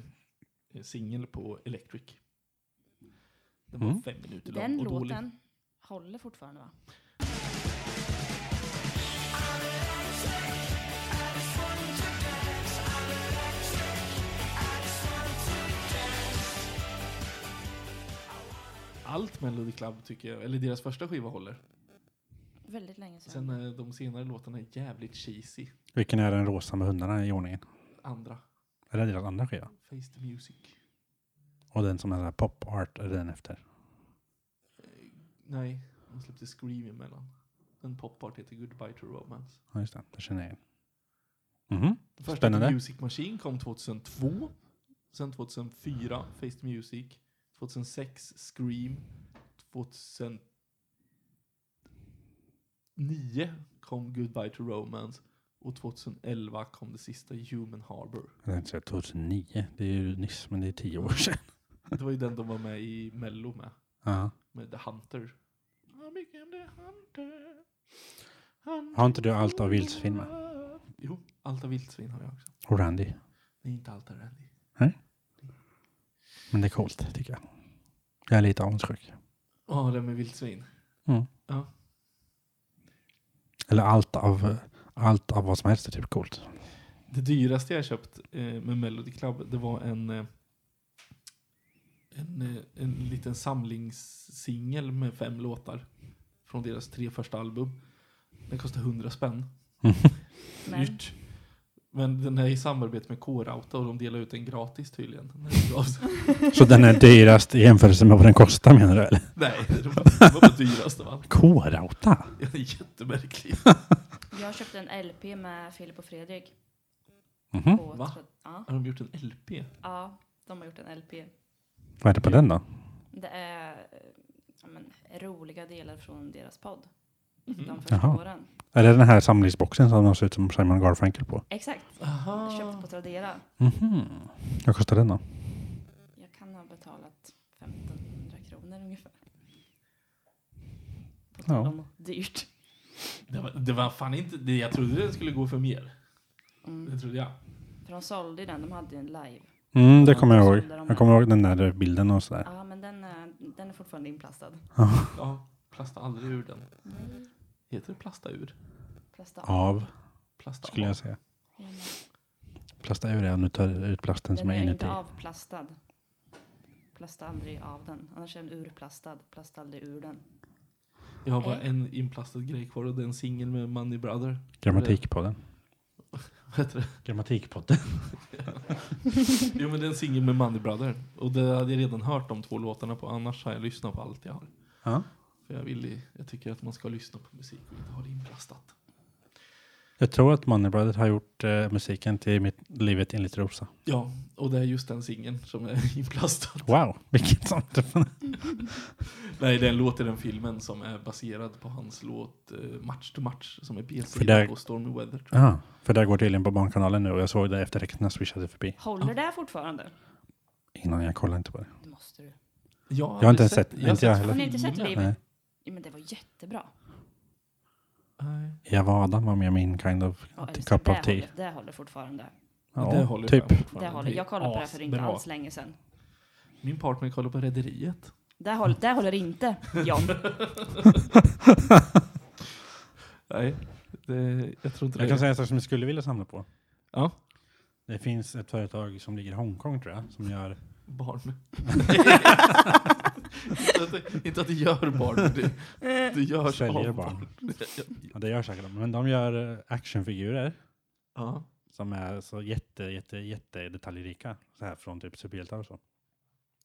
[SPEAKER 1] eh, singel på Electric. Den var
[SPEAKER 2] Mm.
[SPEAKER 1] fem minuter lång
[SPEAKER 4] Den
[SPEAKER 1] och dålig.
[SPEAKER 4] låten håller fortfarande va?
[SPEAKER 1] Allt Melody Club tycker jag, eller deras första skiva håller.
[SPEAKER 4] Väldigt länge sedan.
[SPEAKER 1] Sen eh, de senare låtarna är jävligt cheesy.
[SPEAKER 2] Vilken är den rosa med hundarna i ordningen?
[SPEAKER 1] Andra,
[SPEAKER 2] Är det deras andra skiva?
[SPEAKER 1] Face the Music.
[SPEAKER 2] Och den som är så här pop art, är den efter?
[SPEAKER 1] Nej, de släppte Scream emellan. En popart heter Goodbye to Romance.
[SPEAKER 2] Ja just det, det känner jag igen. Mhm.
[SPEAKER 1] Den Första
[SPEAKER 2] Spännande.
[SPEAKER 1] The Music Machine kom 2002. Sen 2004, Face the Music. 2006, Scream. 2009 kom Goodbye to Romance. Och 2011 kom det sista, Human Harbor.
[SPEAKER 2] Jag tänkte säga 2009, det är ju nyss men det är tio år sedan.
[SPEAKER 1] Det var ju den de var med i Mello med.
[SPEAKER 2] Ja.
[SPEAKER 1] Med The Hunter. I became the hunter. Hunter
[SPEAKER 2] Har inte du allt av vildsvin med?
[SPEAKER 1] med? Jo, allt av vildsvin har jag också.
[SPEAKER 2] Och Randy.
[SPEAKER 1] Nej, inte allt av Randy.
[SPEAKER 2] Men det är coolt tycker jag. Jag är lite avundsjuk.
[SPEAKER 1] Ja, det med vildsvin.
[SPEAKER 2] Mm.
[SPEAKER 1] Ja.
[SPEAKER 2] Eller allt av, allt av vad som helst är typ coolt.
[SPEAKER 1] Det dyraste jag köpt eh, med Melody Club, det var en, eh, en, eh, en liten samlingssingel med fem låtar från deras tre första album. Den kostade 100 spänn.
[SPEAKER 4] Men-
[SPEAKER 1] Dyrt. Men den är i samarbete med K-Rauta och de delar ut den gratis tydligen. när det gavs.
[SPEAKER 2] Så den är dyrast i jämförelse med vad den kostar menar du? Eller?
[SPEAKER 1] Nej, det var, det var bara dyrast av allt.
[SPEAKER 2] K-Rauta?
[SPEAKER 1] Det är jättemärkligt.
[SPEAKER 4] Jag köpte en LP med Filip och Fredrik.
[SPEAKER 2] Mhm.
[SPEAKER 4] På
[SPEAKER 1] Va?
[SPEAKER 4] tro- Ja,
[SPEAKER 1] Har de gjort en LP?
[SPEAKER 4] ja, de har gjort en LP.
[SPEAKER 2] Vad är det på den då?
[SPEAKER 4] Det är eh, ja, men, roliga delar från deras podd.
[SPEAKER 1] Mhm.
[SPEAKER 4] De första
[SPEAKER 2] Jaha.
[SPEAKER 4] åren.
[SPEAKER 2] Är det den här samlingsboxen som de ser ut som Simon Garfunkel på?
[SPEAKER 4] Exakt. Jag köpte
[SPEAKER 1] Aha.
[SPEAKER 4] på Tradera.
[SPEAKER 2] Mhm. Vad kostar den då?
[SPEAKER 4] Jag kan ha betalat 1500 kronor ungefär. På tal
[SPEAKER 2] Ja.
[SPEAKER 4] om dyrt.
[SPEAKER 1] Det var, det var fan inte... Det, jag trodde den skulle gå för mer.
[SPEAKER 4] Mm.
[SPEAKER 1] Det trodde jag.
[SPEAKER 4] För de sålde ju den, de hade ju en live.
[SPEAKER 2] Mm, det kommer jag ihåg. Jag kommer ihåg den där bilden och sådär.
[SPEAKER 4] Ja, men den är, den är fortfarande inplastad.
[SPEAKER 1] Ja, plasta aldrig ur den.
[SPEAKER 4] Nej,
[SPEAKER 1] Heter det plasta ur?
[SPEAKER 4] plastad.
[SPEAKER 2] Av,
[SPEAKER 1] Plasta
[SPEAKER 2] skulle
[SPEAKER 1] av.
[SPEAKER 2] jag säga.
[SPEAKER 4] Ja, men
[SPEAKER 2] Plasta ur det om du tar ut plasten som
[SPEAKER 4] Den
[SPEAKER 2] är
[SPEAKER 4] är
[SPEAKER 2] inuti.
[SPEAKER 4] inte avplastad. Plasta aldrig av den. Annars är den urplastad. Plasta aldrig ur den.
[SPEAKER 1] Jag har bara
[SPEAKER 4] Nej.
[SPEAKER 1] en inplastad grej kvar och det är en singel med Money Brother.
[SPEAKER 2] Grammatikpodden.
[SPEAKER 1] Vad heter det?
[SPEAKER 2] Grammatikpodden.
[SPEAKER 1] Jo men det är en singel med Money Brother. Och det hade jag redan hört de två låtarna på annars har jag lyssnat på allt jag har.
[SPEAKER 2] Ja.
[SPEAKER 1] För jag, vill, ju- jag tycker att man ska lyssna på musik och inte ha det inplastat.
[SPEAKER 2] Jag tror att Money Brothers har gjort eh, musiken till mitt, Livet enligt Rosa.
[SPEAKER 1] Ja, och det är just den singeln som är inplastad.
[SPEAKER 2] Wow, vilket sånt.
[SPEAKER 1] Nej, det är en låt i den filmen som är baserad på hans låt eh, Match to Match som är
[SPEAKER 2] För
[SPEAKER 1] B-sidan
[SPEAKER 2] där-
[SPEAKER 1] på Stormy Weather. Tror jag.
[SPEAKER 2] Ja, för det går tydligen på Barnkanalen nu och jag såg det efter det när jag swishade förbi.
[SPEAKER 4] Håller det fortfarande?
[SPEAKER 2] Innan jag kollade inte på det.
[SPEAKER 4] Det måste du.
[SPEAKER 1] Jag,
[SPEAKER 2] har inte
[SPEAKER 1] aldrig
[SPEAKER 2] sett-
[SPEAKER 1] jag har
[SPEAKER 2] inte jag
[SPEAKER 1] sett
[SPEAKER 2] heller.
[SPEAKER 4] Har ni inte sett
[SPEAKER 1] filmen.
[SPEAKER 4] Liv?
[SPEAKER 2] Nej.
[SPEAKER 4] Ja, men det var jättebra.
[SPEAKER 1] Nej.
[SPEAKER 2] Jag var Adam var med min kind of
[SPEAKER 4] Ja,
[SPEAKER 2] t-
[SPEAKER 4] Elsa,
[SPEAKER 2] cup
[SPEAKER 4] det
[SPEAKER 2] of tea.
[SPEAKER 4] Håller, det håller fortfarande.
[SPEAKER 2] Ja,
[SPEAKER 1] det håller
[SPEAKER 2] typ.
[SPEAKER 1] jag fortfarande.
[SPEAKER 4] Det håller.
[SPEAKER 1] är
[SPEAKER 4] Jag kollade på det här för inte
[SPEAKER 1] asbra.
[SPEAKER 4] alls länge sedan.
[SPEAKER 1] Min partner kollar på Rederiet.
[SPEAKER 4] Det håller, det håller inte, John.
[SPEAKER 1] Nej, det, jag tror inte
[SPEAKER 2] Jag
[SPEAKER 1] det.
[SPEAKER 2] kan säga en sak som jag skulle vilja samla på.
[SPEAKER 1] Ja.
[SPEAKER 2] Det finns ett företag som ligger i Hongkong tror jag, som gör...
[SPEAKER 1] Barn. inte, att det, inte att det gör barn, men det, det görs
[SPEAKER 2] Säljer
[SPEAKER 1] av
[SPEAKER 2] barn. Ja, det gör säkert de. Men de gör eh, actionfigurer
[SPEAKER 1] Ja.
[SPEAKER 2] som är så jätte, jätte, jätte detaljrika. Så här från typ superhjältar och så.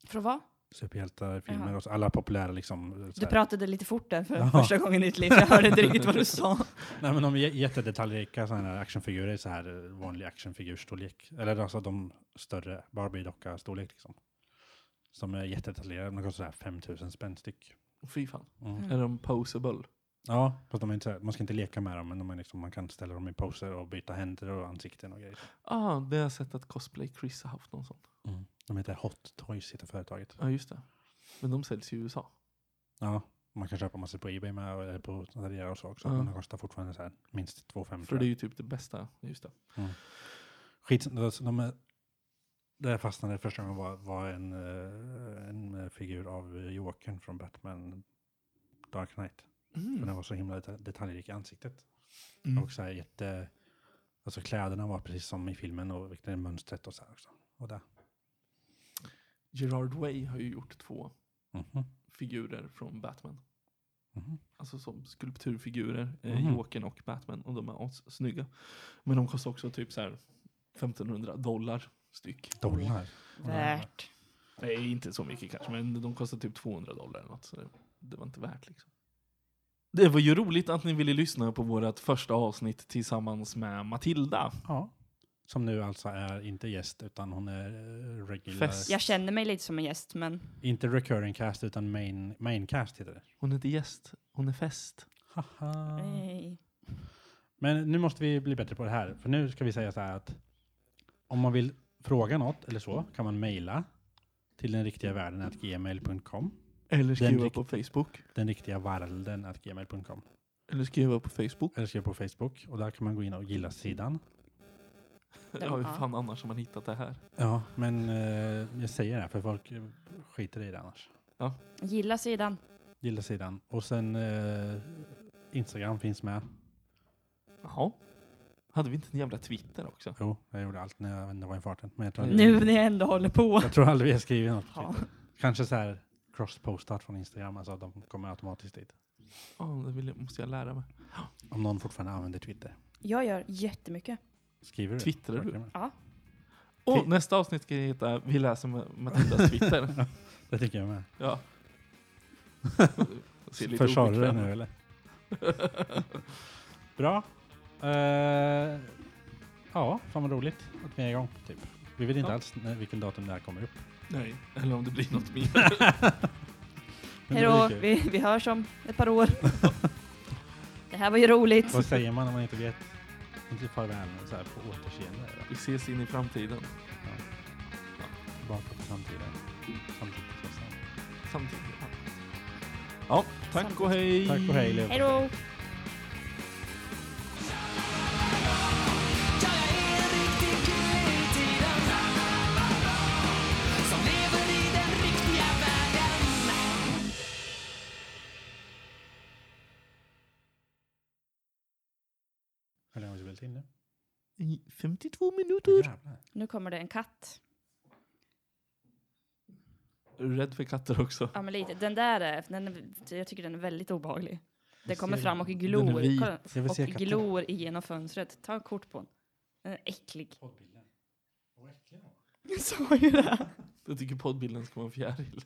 [SPEAKER 4] För vad?
[SPEAKER 2] Superhjältar, filmer
[SPEAKER 4] Jaha.
[SPEAKER 2] och så. Alla populära liksom. eh, Så
[SPEAKER 4] Du
[SPEAKER 2] här.
[SPEAKER 4] pratade lite fort där för
[SPEAKER 2] Ja.
[SPEAKER 4] första gången i ditt liv. Jag hörde inte riktigt vad du sa.
[SPEAKER 2] Nej men de är jä- jättedetaljrika sådana här actionfigurer, så här eh, vanlig actionfigurstorlek. Eller alltså de större Barbie-docka-storlek liksom. Som är jättedetaljerade, de kostar så här 5000 spänn styck.
[SPEAKER 1] Fy fan.
[SPEAKER 2] Mm.
[SPEAKER 1] Är de posable?
[SPEAKER 2] Ja, fast de är inte så här, man ska inte leka med dem, men de är liksom, man kan ställa dem i poser och byta händer och ansikten och grejer.
[SPEAKER 1] Ah, det har jag sett att Cosplay Chris har haft någon sån.
[SPEAKER 2] De heter Hot Toys, heter företaget.
[SPEAKER 1] Ja, just det. Men de säljs i USA.
[SPEAKER 2] Ja, man kan köpa massor på Ebay med, och- eller på Tadera och så också.
[SPEAKER 1] Ja.
[SPEAKER 2] Men de kostar fortfarande så här, minst 2,50.
[SPEAKER 1] För
[SPEAKER 2] tror
[SPEAKER 1] det är
[SPEAKER 2] jag.
[SPEAKER 1] ju typ det bästa. Just det.
[SPEAKER 2] Skits, alltså, de är, där jag fastnade första gången var, var en, eh, en eh, figur av eh, Jokern från Batman Dark Knight.
[SPEAKER 1] Mm.
[SPEAKER 2] Den var så himla deta- detaljrik i ansiktet.
[SPEAKER 1] Mm.
[SPEAKER 2] Och så här jätte... Alltså kläderna var precis som i filmen och vilket är mönstret och så här också. Och där.
[SPEAKER 1] Gerard Way har ju gjort två
[SPEAKER 2] Mhm.
[SPEAKER 1] figurer från Batman.
[SPEAKER 2] Mhm.
[SPEAKER 1] Alltså som skulpturfigurer, eh,
[SPEAKER 2] Mhm.
[SPEAKER 1] Jokern och Batman. Och de är as- snygga. Men de kostar också typ så här 1500 dollar styck.
[SPEAKER 2] Dollar.
[SPEAKER 4] Värt.
[SPEAKER 1] Nej, inte så mycket kanske, men de kostar typ 200 dollar eller något. Så det, det var inte värt liksom. Det var ju roligt att ni ville lyssna på vårt första avsnitt tillsammans med Matilda.
[SPEAKER 2] Ja. Som nu alltså är inte gäst utan hon är eh, regular.
[SPEAKER 1] Fest.
[SPEAKER 4] Jag känner mig lite som en gäst, men
[SPEAKER 2] Inte recurring cast utan main, main cast heter det.
[SPEAKER 1] Hon är inte gäst, hon är fest.
[SPEAKER 2] Haha.
[SPEAKER 4] nej.
[SPEAKER 2] Men nu måste vi bli bättre på det här. För nu ska vi säga så här att om man vill fråga något eller så kan man mejla till den riktiga världen att gmail.com.
[SPEAKER 1] Eller skriva
[SPEAKER 2] rikt-
[SPEAKER 1] på Facebook.
[SPEAKER 2] Den riktiga varlden att gmail.com.
[SPEAKER 1] Eller skriva på Facebook.
[SPEAKER 2] Eller skriva på Facebook och där kan man gå in och gilla sidan.
[SPEAKER 1] Ja, hur fan annars har man hittat det här?
[SPEAKER 2] Ja, men eh, jag säger det här för folk eh, skiter i det annars.
[SPEAKER 4] Gilla sidan.
[SPEAKER 2] Gilla sidan. Och sen eh, Instagram finns med.
[SPEAKER 1] Jaha. Hade vi inte en jävla Twitter också?
[SPEAKER 2] Jo, jag gjorde allt när jag vände var i farten. Men jag tror,
[SPEAKER 1] Mm.
[SPEAKER 4] Nu när jag ändå håller på.
[SPEAKER 2] jag tror aldrig vi har skrivit något.
[SPEAKER 4] Ja.
[SPEAKER 2] Kanske så här cross-postat från Instagram, alltså att de kommer automatiskt dit.
[SPEAKER 1] Ja, det vill, jag- måste jag lära mig.
[SPEAKER 2] Om någon fortfarande använder Twitter.
[SPEAKER 4] Jag gör jättemycket.
[SPEAKER 2] Skriver du?
[SPEAKER 1] Twittrar du?
[SPEAKER 2] Verkligen.
[SPEAKER 1] Och nästa avsnitt ska heta Vi läser Ma- Matildas Twitter.
[SPEAKER 2] Det tycker jag med.
[SPEAKER 1] ja. Ser lite
[SPEAKER 2] Försvarar du det
[SPEAKER 1] obekväm
[SPEAKER 2] nu eller? Bra. Eh, ja, fan vad roligt att vi är igång. Typ. Vi vet inte
[SPEAKER 1] Ja.
[SPEAKER 2] alls när, vilken datum det här kommer upp.
[SPEAKER 1] Nej, eller om det blir något mer.
[SPEAKER 2] Men
[SPEAKER 4] Hej
[SPEAKER 2] det
[SPEAKER 4] då.
[SPEAKER 2] var ju kul.
[SPEAKER 4] Vi, vi hörs om ett par år. Det här var ju roligt.
[SPEAKER 2] Vad säger man om man inte vet? Inte farväl, men så här på återseende. eller?
[SPEAKER 1] Vi ses in i framtiden.
[SPEAKER 2] Bara på samtiden. Samtidigt. och sen.
[SPEAKER 1] Samtidigt. Ja, tack och hej.
[SPEAKER 2] Tack och hej. lever på dig.
[SPEAKER 4] Hej då.
[SPEAKER 3] Ja, jag är en riktig gud i tiden Som lever i den riktiga världen
[SPEAKER 2] Hur länge har vi spelat in nu?
[SPEAKER 1] I 52
[SPEAKER 2] Åh,
[SPEAKER 1] minuter.
[SPEAKER 2] jävlar.
[SPEAKER 4] Nu kommer det en katt.
[SPEAKER 1] Är du rädd för katter också?
[SPEAKER 4] Ja, men lite. Den där, är- den, är- jag tycker den är väldigt obehaglig. Den kommer
[SPEAKER 2] ser
[SPEAKER 4] fram och
[SPEAKER 2] den.
[SPEAKER 1] Den
[SPEAKER 4] glor,
[SPEAKER 1] är vit.
[SPEAKER 4] Kolla,
[SPEAKER 2] Jag vill se
[SPEAKER 4] och
[SPEAKER 2] katten.
[SPEAKER 4] glor igenom fönstret. Ta en kort på den. Den är äcklig.
[SPEAKER 2] Poddbilden. Vad äcklig den var.
[SPEAKER 4] Jag sa ju det.
[SPEAKER 1] Jag tycker poddbilden ska vara en fjäril.